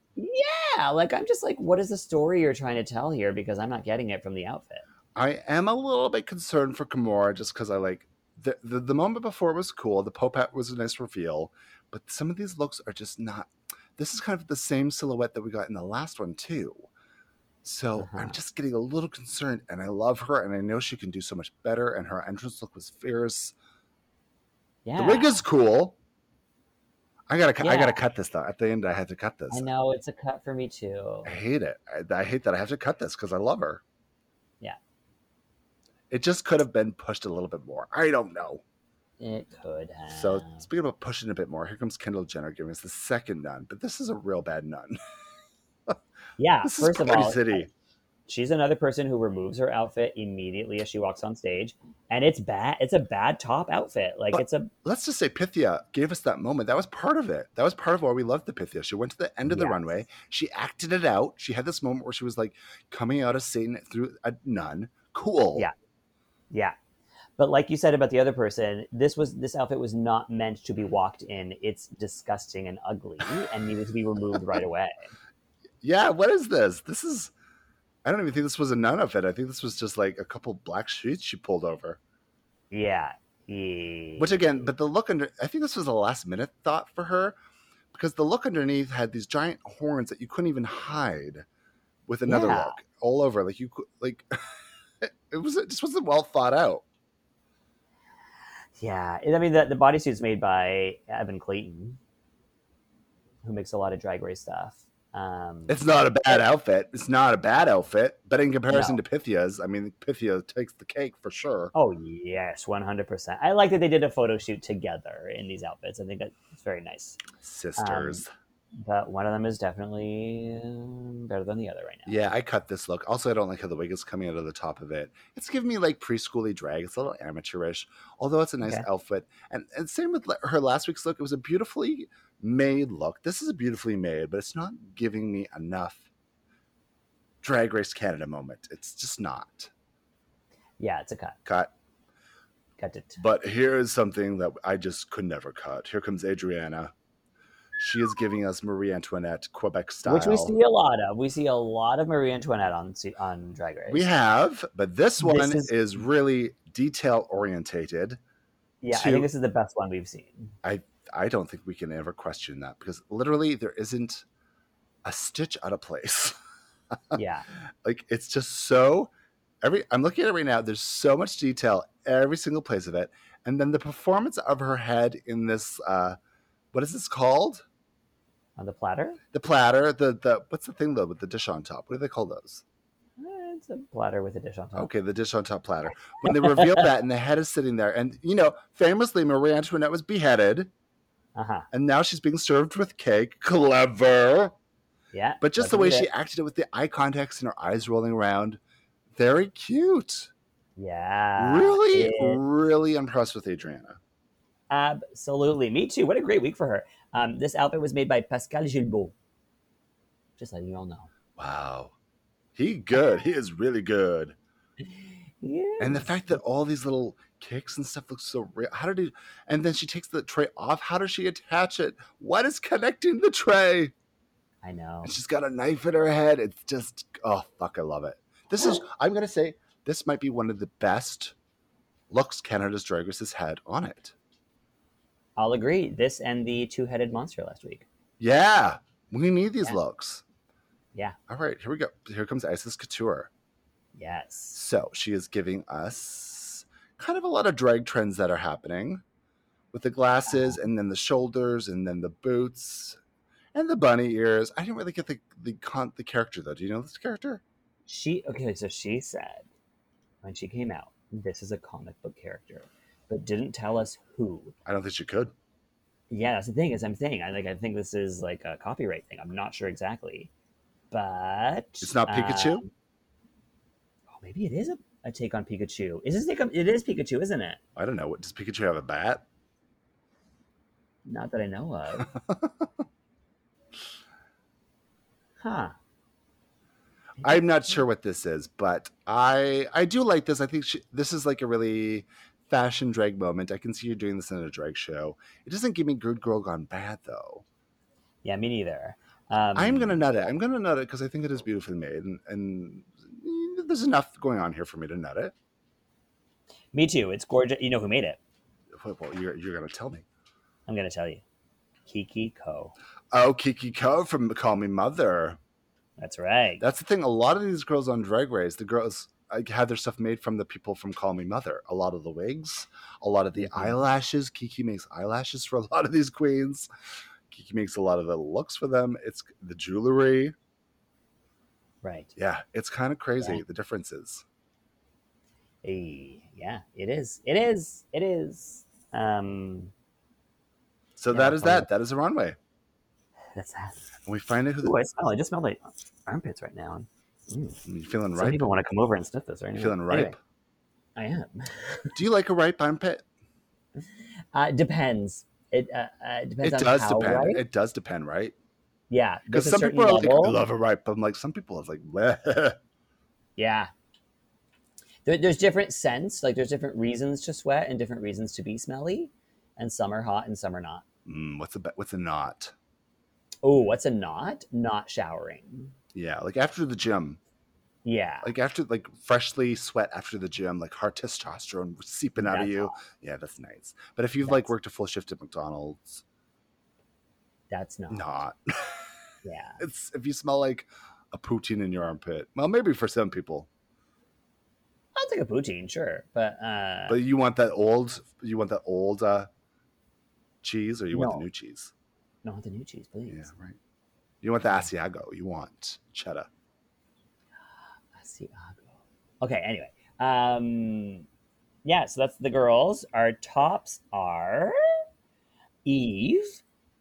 C: Yeah, like I'm just like, what is the story you're trying to tell here? Because I'm not getting it from the outfit.
B: I am a little bit concerned for Kimura just because I like the, the the moment before was cool. The Pope hat was a nice reveal, but some of these looks are just not. This is kind of the same silhouette that we got in the last one too. So I'm
C: Uh-huh.
B: just getting a little concerned, and I love her, and I know she can do so much better. And her entrance look was fierce.
C: Yeah,
B: The wig is cool. I gotta, cu- I
C: Yeah.
B: gotta cut this though. At the end, I had to cut this.
C: I know it's a cut for me too.
B: I hate it. I, I hate that I have to cut this because I love her.
C: Yeah.
B: It just could have been pushed a little bit more. I don't know.
C: It could have.
B: So speaking about pushing a bit more, here comes Kendall Jenner giving us the second nun, but this is a real bad nun.
C: yeah,
B: this
C: first
B: is
C: of
B: Party
C: all,
B: City.
C: she's another person who removes her outfit immediately as she walks on stage, and it's bad. It's a bad top outfit. Like
B: But-
C: it's a
B: Let's just say Pythia gave us that moment. That was part of it. That was part of why we loved the Pythia. She went to the end of the
C: Yes.
B: runway. She acted it out. She had this moment where she was like coming out of Satan through a nun. Cool.
C: Yeah. Yeah. But like you said about the other person, this was this outfit was not meant to be walked in. It's disgusting and ugly and needed to be removed right away.
B: Yeah, what is this? This is I don't even think this was a nun outfit. I think this was just like a couple black sheets she pulled over.
C: Yeah. E Yeah.
B: Which again, but the look under I think this was a last minute thought for her because the look underneath had these giant horns that you couldn't even hide with another
C: Yeah.
B: look all over. Like you cou- like it was it just wasn't well thought out.
C: Yeah. I mean the the bodysuit's made by Evan Clayton, who makes a lot of drag race stuff. Um
B: It's not a bad outfit. It's not a bad outfit, but in comparison
C: No.
B: to Pythia's, I mean Pythia takes the cake for sure.
C: Oh yes, one hundred percent. I like that they did a photo shoot together in these outfits. I think that's very nice.
B: Sisters.
C: But one of them is definitely um, better than the other right now.
B: Yeah, I cut this look. Also, I don't like how the wig is coming out of the top of it. It's giving me like preschooly drag. It's a little amateurish, although it's a nice
C: Okay.
B: outfit. And and same with like, her last week's look. It was a beautifully made look. This is a beautifully made, but it's not giving me enough Drag Race Canada moment. It's just not
C: Yeah, it's a cut.
B: cut.
C: Cut it.
B: But here is something that I just could never cut. Here comes Adriana. She is giving us Marie Antoinette Quebec style.
C: Which we see a lot of. We see a lot of Marie Antoinette on se- on Drag Race.
B: We have, but this one
C: is-
B: is, really detail orientated.
C: yeah, I
B: two.
C: think this is the best one we've seen.
B: I don't think we can ever question that because literally there isn't a stitch out of place.
C: Yeah,
B: Like it's just so Every I'm looking at it right now. There's so much detail, every single place of it, and then the performance of her head in this. Uh, what is this called?
C: On the platter?
B: The platter. The the what's the thing though with the dish on top? What do they call those?
C: Eh, It's a platter with a dish on top.
B: Okay, the dish on top platter. When they reveal that, and the head is sitting there, and you know, famously, Marie Antoinette was beheaded,
C: Uh huh.
B: and now she's being served with cake. Clever.
C: Yeah.
B: But just
C: let's
B: the way
C: do
B: she
C: it.
B: acted it with the eye contacts and her eyes rolling around, very cute.
C: Ah, Yeah.
B: really,
C: it-
B: really impressed with Adriana.
C: Absolutely. Me too. What a great week for her. Um, this outfit was made by Pascal Gilbeau. Just letting you all know.
B: Wow. He good. He is really good.
C: Yeah.
B: And the fact that all these little kicks and stuff look so real. How did he and then she takes the tray off? How does she attach it? What is connecting the tray?
C: I know.
B: And she's got a knife in her head. It's just oh fuck, I love it. This is I'm gonna say this might be one of the best looks Canada's Drag Race has had on it.
C: I'll agree. This and the two headed monster last week.
B: Yeah, we need these
C: Yeah.
B: looks.
C: Yeah.
B: All right, here we go. Here comes Isis Couture.
C: Yes.
B: So she is giving us kind of a lot of drag trends that are happening with the glasses and then the shoulders and then the boots and the bunny ears. I didn't really get the the con- the character though. Do you know this character?
C: She, okay, so she said when she came out, this is a comic book character, but didn't tell us who.
B: I don't think she could.
C: Yeah, that's the thing. Is I'm saying I like I think this is like a copyright thing. I'm not sure exactly, but
B: It's not Pikachu.
C: um, oh, maybe it is a, a take on Pikachu. Is this take on, it is Pikachu, isn't it?
B: I don't know. What does Pikachu have a bat?
C: Not that I know of. huh.
B: I'm not sure what this is, but I I do like this. I think she, this is like a really fashion drag moment. I can see you doing this in a drag show. It doesn't give me good girl gone bad though.
C: Yeah, me neither. Um,
B: I'm gonna nut it. I'm gonna nut it because I think it is beautifully made, and, and there's enough going on here for me to nut it.
C: Me too. It's gorgeous. You know who made it?
B: Well, well, you're you're gonna tell me.
C: I'm gonna tell you. Kiki Ko.
B: Oh, Kiki Ko from Call Me Mother.
C: That's right.
B: That's the thing. A lot of these girls on Drag Race, the girls like, had their stuff made from the people from Call Me Mother. A lot of the wigs, a lot of the
C: Mm-hmm.
B: eyelashes. Kiki makes eyelashes for a lot of these queens. Kiki makes a lot of the looks for them. It's the jewelry.
C: right.
B: Yeah, it's kind of crazy the differences.
C: Eh, yeah, it is. It is. It is. Um,
B: So
C: Yeah,
B: that is
C: totally.
B: that. That is the runway.
C: that's that.
B: And we find out who the,
C: Ooh, I smell. I just smell like armpits right now. Mm.
B: you feeling
C: Some
B: right.
C: people want to come over and sniff this right
B: You
C: now.
B: feeling ripe?
C: Anyway, I am.
B: Do you like a ripe armpit?
C: Uh, depends. It uh, uh, depends
B: It
C: on
B: does
C: how
B: depend.
C: ripe.
B: It does depend, right?
C: yeah,
B: Because
C: there's a
B: some
C: certain
B: people are
C: level.
B: like, I love a ripe. But I'm like, some people are like, Bleh.
C: Yeah. There, there's different scents. Like there's different reasons to sweat and different reasons to be smelly, and some are hot and some are not.
B: mm, what's a be- what's a knot?
C: Oh, what's a not? Not showering.
B: Yeah, like after the gym,
C: Yeah.
B: like after like freshly sweat after the gym, like hard testosterone seeping out of
C: That's
B: you. Yeah, that's nice. But if you've like
C: That's-
B: worked a full shift at McDonald's,
C: That's not.
B: not.
C: Yeah.
B: It's if you smell like a poutine in your armpit. Well, maybe for some people,
C: I'll take a poutine, sure, but uh,
B: but you want that old, you want that old uh, cheese, or you want
C: No.
B: the new cheese.
C: not the new cheese, please.
B: Yeah, right. You want the Asiago. You want cheddar.
C: Asiago. Okay, anyway. Um, yeah, so that's the girls. Our tops are Eve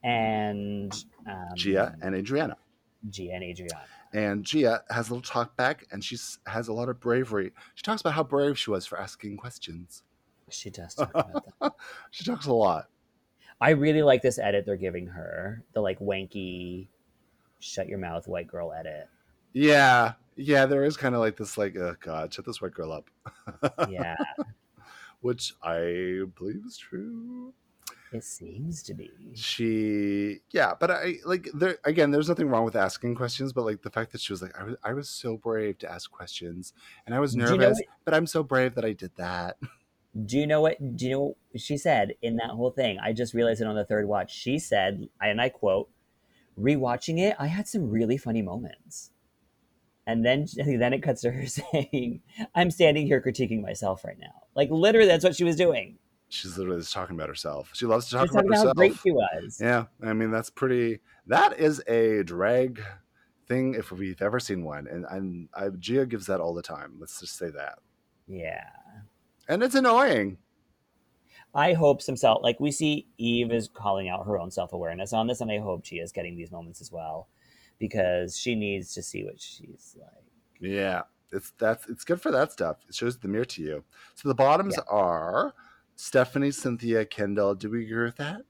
C: and um,
B: Gia and Adriana.
C: Gia and Adriana.
B: And Gia has a little talk back and she s- has a lot of bravery. She talks about how brave she was for asking questions.
C: She does talk about that.
B: She talks a lot.
C: I really like this edit they're giving her the like wanky, shut your mouth, white girl edit.
B: Yeah. Yeah, there is kind of like this, like, oh God, shut this white girl up,
C: Yeah,
B: which I believe is true.
C: it seems to be.
B: She, yeah, but I like there again. There's nothing wrong with asking questions, but like the fact that she was like, I was, I was so brave to ask questions, and I was
C: Do you know
B: nervous,
C: what-
B: but I'm so brave that I did that.
C: Do you know what? Do you know what she said in that whole thing? I just realized it on the third watch. She said, and I quote, rewatching it, I had some really funny moments. And then then it cuts to her saying, "I'm standing here critiquing myself right now." Like literally, that's what she was doing.
B: She's literally just talking about herself. She loves to
C: She
B: talk
C: was talking
B: about
C: about how
B: herself.
C: great she was.
B: Yeah, I mean that's pretty. That is a drag thing if we've ever seen one, and I'm, I Gia gives that all the time. Let's just say that,
C: Yeah.
B: and it's annoying.
C: I hope some self like we see Eve is calling out her own self awareness on this, and I hope she is getting these moments as well because she needs to see what she's like.
B: Yeah, it's that's it's good for that stuff. It shows the mirror to you. So the bottoms
C: Yeah.
B: are Stephanie, Cynthia, Kendall. Do we agree with that?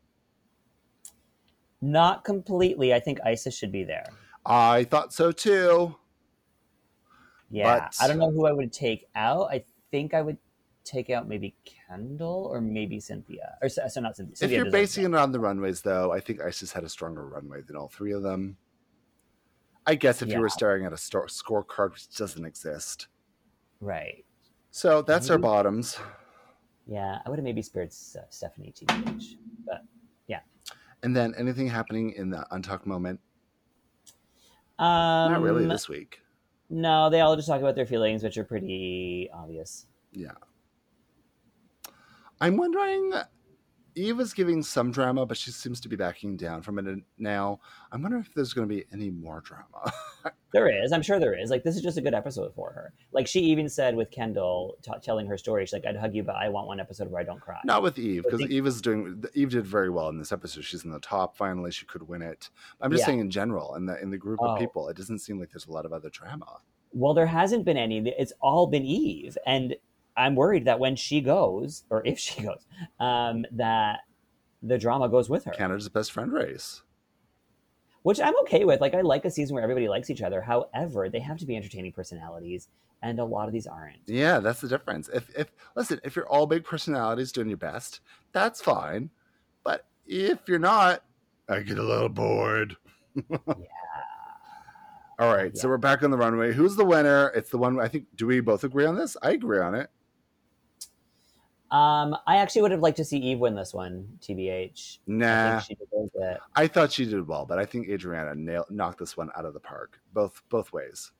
C: Not completely. I think Isis should be there.
B: I thought so too.
C: Yeah,
B: But-
C: I don't know who I would take out. I think I would take out maybe Kendall or maybe Cynthia, or so so not Cynthia.
B: if
C: Cynthia
B: you're
C: doesn't-
B: basing it on the runways, though, I think ISIS had a stronger runway than all three of them. I guess if you
C: Yeah.
B: were staring at a star- scorecard which doesn't exist.
C: right,
B: So that's our
C: Mhm.
B: bottoms.
C: yeah, I would have maybe spared uh, Stephanie TBH, but
B: And then anything happening in the untucked moment?
C: um,
B: Not really this week.
C: No, they all just talk about their feelings, which are pretty obvious.
B: Yeah. I'm wondering. Eve is giving some drama, but she seems to be backing down from it now. I'm wondering if there's going to be any more drama.
C: There is. I'm sure there is. Like, this is just a good episode for her. Like, she even said with Kendall t- telling her story, she's like, I'd hug you, but I want one episode where I don't cry.
B: Not with Eve, because
C: think-
B: Eve is doing. Eve did very well in this episode. She's in the top. Finally, she could win it. I'm just
C: Yeah.
B: saying in general, in the in the group
C: Oh.
B: of people, it doesn't seem like there's a lot of other drama.
C: Well, there hasn't been any. It's all been Eve. And I'm worried that when she goes, or if she goes, um, that the drama goes with her,
B: Canada's best friend race.
C: which I'm okay with. Like, I like a season where everybody likes each other. However, they have to be entertaining personalities, and a lot of these aren't.
B: Yeah, that's the difference. If if listen, if you're all big personalities doing your best, that's fine. But if you're not, I get a little bored. All right, so we're back on the runway. Who's the winner? It's the one I think. Do we both agree on this? I agree on it.
C: Um, I actually would have liked to see Eve win this one, TBH. I
B: Nah,
C: think she deserves it.
B: I thought she did well, but I think Adriana nailed, knocked this one out of the park, both both ways.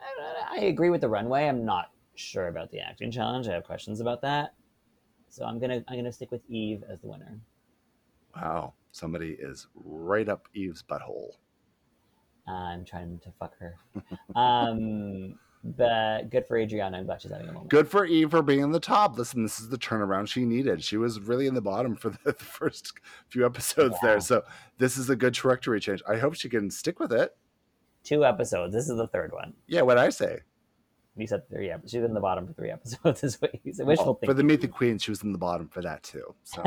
C: I- I agree with the runway. I'm not sure about the acting challenge. I have questions about that. So I'm gonna I'm gonna stick with Eve as the winner.
B: Wow, somebody is right up Eve's butthole.
C: I'm trying to fuck her. Um, but good for Adriana. I'm glad she's having a moment.
B: Good for Eve for being in the top. Listen, this is the turnaround she needed. She was really in the bottom for the, the first few episodes there, so this is a good trajectory change. I hope she can stick with it.
C: Two episodes. This is the third one.
B: Yeah, what I say.
C: You said three. ep- She's in the bottom for three episodes. Is what you said. Wishful
B: Well, Oh, for the
C: thinking.
B: Meet the Queen, she was in the bottom for that too. So,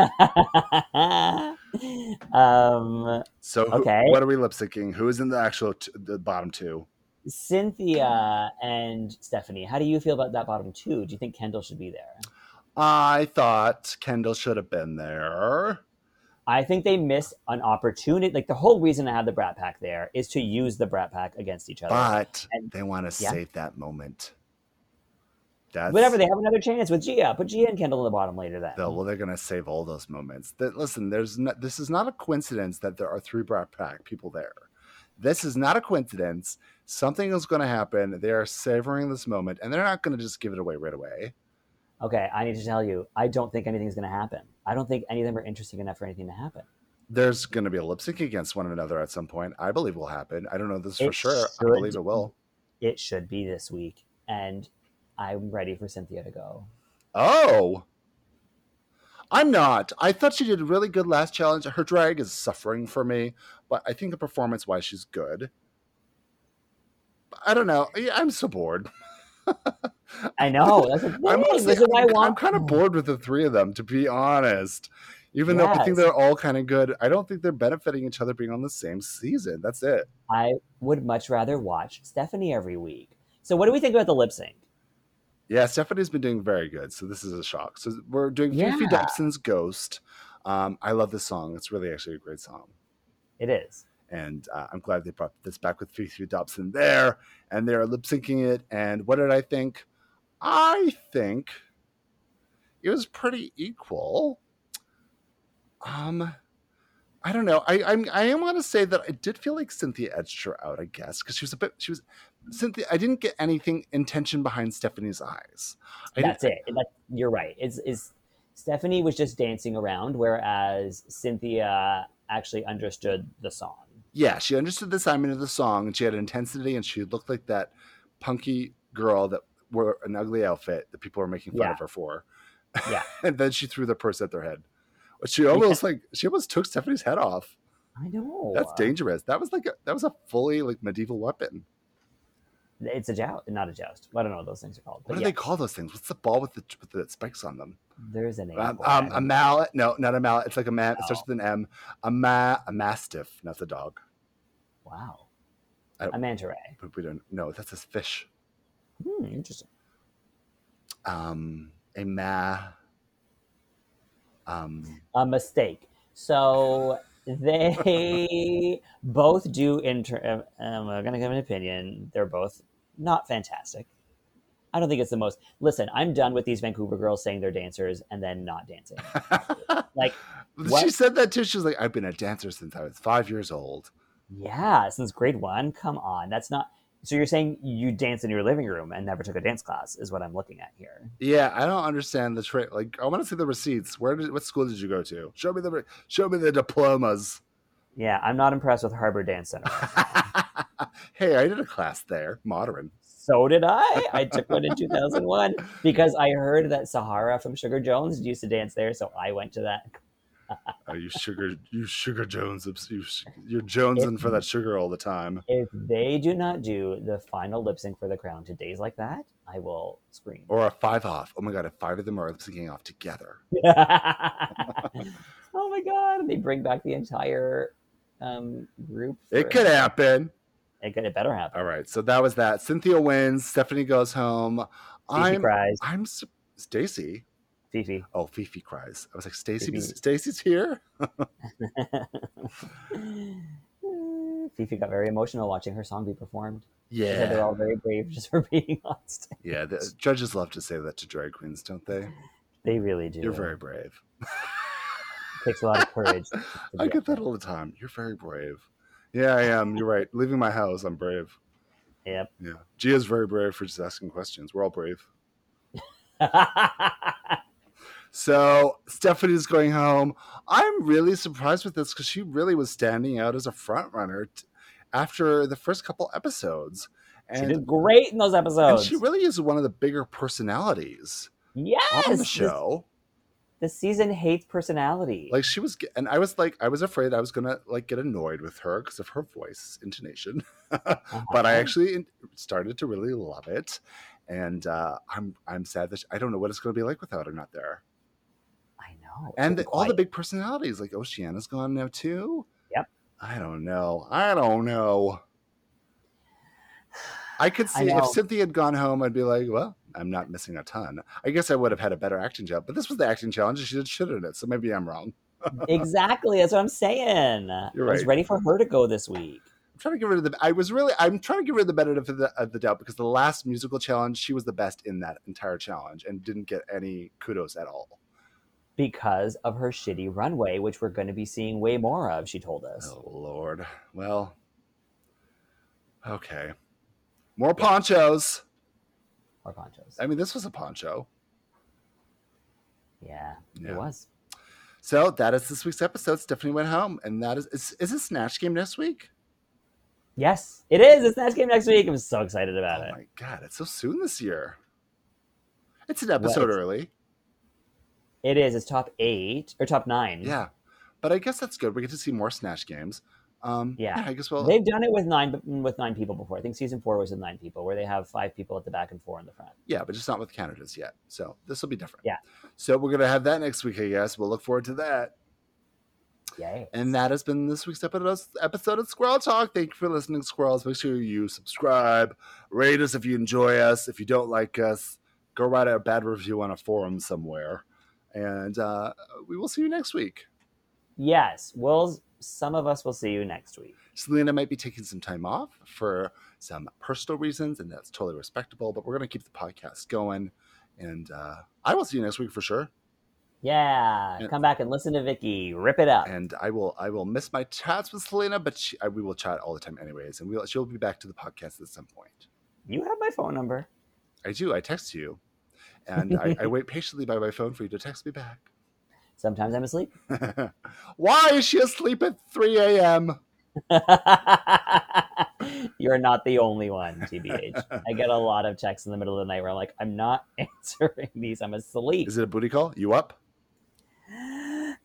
C: um,
B: so who-
C: Okay.
B: what are we lip syncing? Who is in the actual t- the bottom two?
C: Cynthia and Stephanie. How do you feel about that bottom two? Do you think Kendall should be there?
B: I thought Kendall should have been there.
C: I think they missed an opportunity. Like the whole reason I had the Brat Pack there is to use the Brat Pack against each other.
B: But
C: Oh. And-
B: they want to
C: yeah.
B: save that moment. That's
C: Whatever, they have another chance with Gia. Put Gia and Kendall in the bottom later. Then
B: though. Well, they're gonna save all those moments. That listen, there's no, this is not a coincidence that there are three Brat Pack people there. This is not a coincidence. Something is going to happen. They are savoring this moment, and they're not going to just give it away right away.
C: okay, I need to tell you, I don't think anything's going to happen. I don't think any of them are interesting enough for anything to happen.
B: There's going to be a lip sync against one another at some point. I believe will happen. I don't know this for
C: It
B: sure. I
C: should.
B: believe it will.
C: It should be this week, and I'm ready for Cynthia to go.
B: Oh. I'm not. I thought she did really good last challenge. Her drag is suffering for me, but I think performance wise, she's good. I don't know. Yeah, I'm so bored.
C: I know that's a thing.
B: I'm, honestly,
C: this is why I
B: I'm,
C: want.
B: I'm kind of bored with the three of them, to be honest. Even though I think
C: Yes.
B: they're all kind of good, I don't think they're benefiting each other being on the same season. That's it.
C: I would much rather watch Stephanie every week. So, what do we think about the lip sync?
B: Yeah, Stephanie's been doing very good, so this is a shock. So we're doing Fifi
C: Yeah.
B: Dobson's Ghost. Um, I love this song. It's really actually a great song.
C: It is.
B: and uh, I'm glad they brought this back with Fifi Dobson there, and they're lip syncing it. And what did I think? I think it was pretty equal. Um, I don't know. I I'm, I am want to say that I did feel like Cynthia edged her out, I guess, because she was a bit. She was Cynthia. I didn't get anything intention behind Stephanie's eyes. I
C: That's it. That, you're right. It's is Stephanie was just dancing around, whereas Cynthia actually understood the song.
B: Yeah, she understood the assignment of the song, and she had intensity, and she looked like that punky girl that wore an ugly outfit that people were making fun
C: Yeah.
B: of her for.
C: Yeah.
B: and then she threw the purse at their head. She almost like she almost took Stephanie's head off.
C: I know.
B: That's dangerous. That was like a, that was a fully like medieval weapon.
C: It's a joust, not a joust. I don't know what those things are called.
B: What
C: But
B: do
C: yeah,
B: they call those things? What's the ball with the with the spikes on them?
C: there's a name.
B: Um,
C: for it.
B: um, a mallet? No, not a mallet. It's like a man. It
C: Oh.
B: starts with an M. A ma a mastiff, not the dog.
C: wow.
B: I don't-
C: A manta ray.
B: But we don't know. That's a fish.
C: Hmm, interesting.
B: Um, a ma. Um,
C: a mistake. So they both do inter. Um, I'm going to give an opinion. They're both not fantastic. I don't think it's the most. Listen, I'm done with these Vancouver girls saying they're dancers and then not dancing. Like,
B: she
C: what?
B: said that too. She was like, "I've been a dancer since I was five years old."
C: yeah, since grade one, come on. That's not. So you're saying you dance in your living room and never took a dance class is what I'm looking at here.
B: Yeah, I don't understand the trick. Like, I want to see the receipts. Where did what school did you go to? Show me the re- show me the diplomas.
C: Yeah, I'm not impressed with Harbor Dance Center.
B: hey, I did a class there, modern.
C: So did I. I took one in 2001 because I heard that Sahara from Sugar Jones used to dance there, so I went to that.
B: Oh, you sugar, you sugar Jones, obs- you, s- you're Jonesing for that sugar all the time.
C: If they do not do the final lip sync for the crown to days like that, I will scream.
B: Or a five off. Oh my god, if five of them are syncing off together.
C: oh my god! They bring back the entire um, group.
B: It
C: for-
B: could happen.
C: It could. It better happen.
B: All right, so that was that. Cynthia wins. Stephanie goes home.
C: Fifi
B: I'm,
C: cries.
B: I'm su- Stacy.
C: Fifi.
B: Oh, Fifi cries. I was like, Stacy,
C: Fifi.
B: Stacy's here.
C: Fifi got very emotional watching her song be performed. She said They're
B: Yeah,
C: all very brave just for being on stage.
B: yeah. The judges love to say that to drag queens, don't they?
C: They really do.
B: You're very brave.
C: takes a lot of courage. to
B: I
C: do
B: get
C: that.
B: that all the time. You're very brave. Yeah, I am. You're right. Leaving my house, I'm brave.
C: Yep.
B: Yeah. Gia's very brave for just asking questions. We're all brave. So Stephanie's going home. I'm really surprised with this because she really was standing out as a front runner t- after the first couple episodes.
C: she
B: And,
C: did great in those
B: and
C: episodes.
B: she really is one of the bigger personalities
C: yes,
B: on the
C: this-
B: show.
C: The, season hates personality.
B: Like she was, ge- and I was like, I was afraid I was gonna like get annoyed with her because of her voice intonation, but
C: Uh-huh.
B: I actually in- started to really love it, and uh, I'm I'm sad that she, I don't know what it's gonna be like without her not there.
C: I know.
B: and
C: She's
B: the, all the
C: quiet.
B: big personalities like Oceana's gone now too.
C: Yep.
B: I don't know. I don't know. I could
C: I
B: see if
C: know.
B: Cynthia had gone home, I'd be like, well, I'm not missing a ton. I guess I would have had a better acting job, but this was the acting challenge and she did shit in it. So maybe I'm wrong.
C: exactly. That's what I'm saying. I was
B: right.
C: ready for her to go this week.
B: I'm trying to get rid of the, I was really, I'm trying to get rid of the benefit of the, of the doubt because the last musical challenge, she was the best in that entire challenge and didn't get any kudos at all.
C: Because of her shitty runway, which we're going to be seeing way more of, she told us.
B: Oh Lord. Well, okay. More ponchos.
C: Or ponchos.
B: I mean, this was a poncho.
C: Yeah,
B: Yeah.
C: it was.
B: So that is this week's episode. Stephanie went home, and that is is, is it snatch game next week?
C: Yes, it is. It's Snatch Game next week. I'm so excited about
B: Oh
C: it.
B: my god, it's so soon this year. It's an episode
C: it's-
B: early,
C: It is. It's top eight or top nine.
B: yeah, but I guess that's good. We get to see more snatch games. Um,
C: Yeah.
B: I guess we'll.
C: They've done it with nine with nine people before. I think season four was with nine people, where they have five people at the back and four in the front.
B: Yeah, but just not with Canada's yet. So this will be different.
C: Yeah.
B: So we're gonna have that next week, I guess. We'll look forward to that.
C: Yay!
B: And that has been this week's episode episode of Squirrel Talk. Thank you for listening, squirrels. Make sure you subscribe, rate us if you enjoy us. If you don't like us, go write a bad review on a forum somewhere. And uh, we will see you next week.
C: yes, we'll. Some of us will see you next week.
B: Selena might be taking some time off for some personal reasons, and that's totally respectable. But we're going to keep the podcast going. And uh, I will see you next week for sure.
C: Yeah,
B: And-
C: come back and listen to Vicky. Rip it up.
B: and I will I will miss my chats with Selena, but she, I, we will chat all the time anyways, and we'll, she'll be back to the podcast at some point.
C: you have my phone number.
B: I do. I text you, and I, I wait patiently by my phone for you to text me back.
C: Sometimes I'm asleep.
B: Why is she asleep at three a.m.?
C: You're not the only one, TBH. I get a lot of texts in the middle of the night where I'm like, I'm not answering these. I'm asleep.
B: Is it a booty call? You up?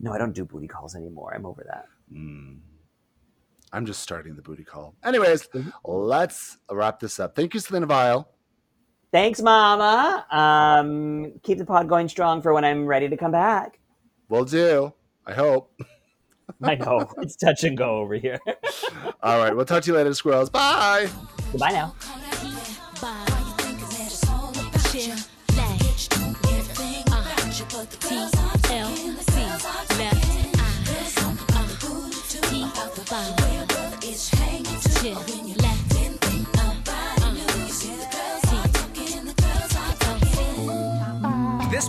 C: No, I don't do booty calls anymore. I'm over that.
B: Mm. I'm just starting the booty call. Anyways, let's wrap this up. Thank you, Selena Vile.
C: Thanks, Mama. Um, keep the pod going strong for when I'm ready to come back.
B: Will do. I hope.
C: I know it's touch and go over here.
B: All right. We'll talk to you later, squirrels. Bye.
C: Goodbye now.
F: This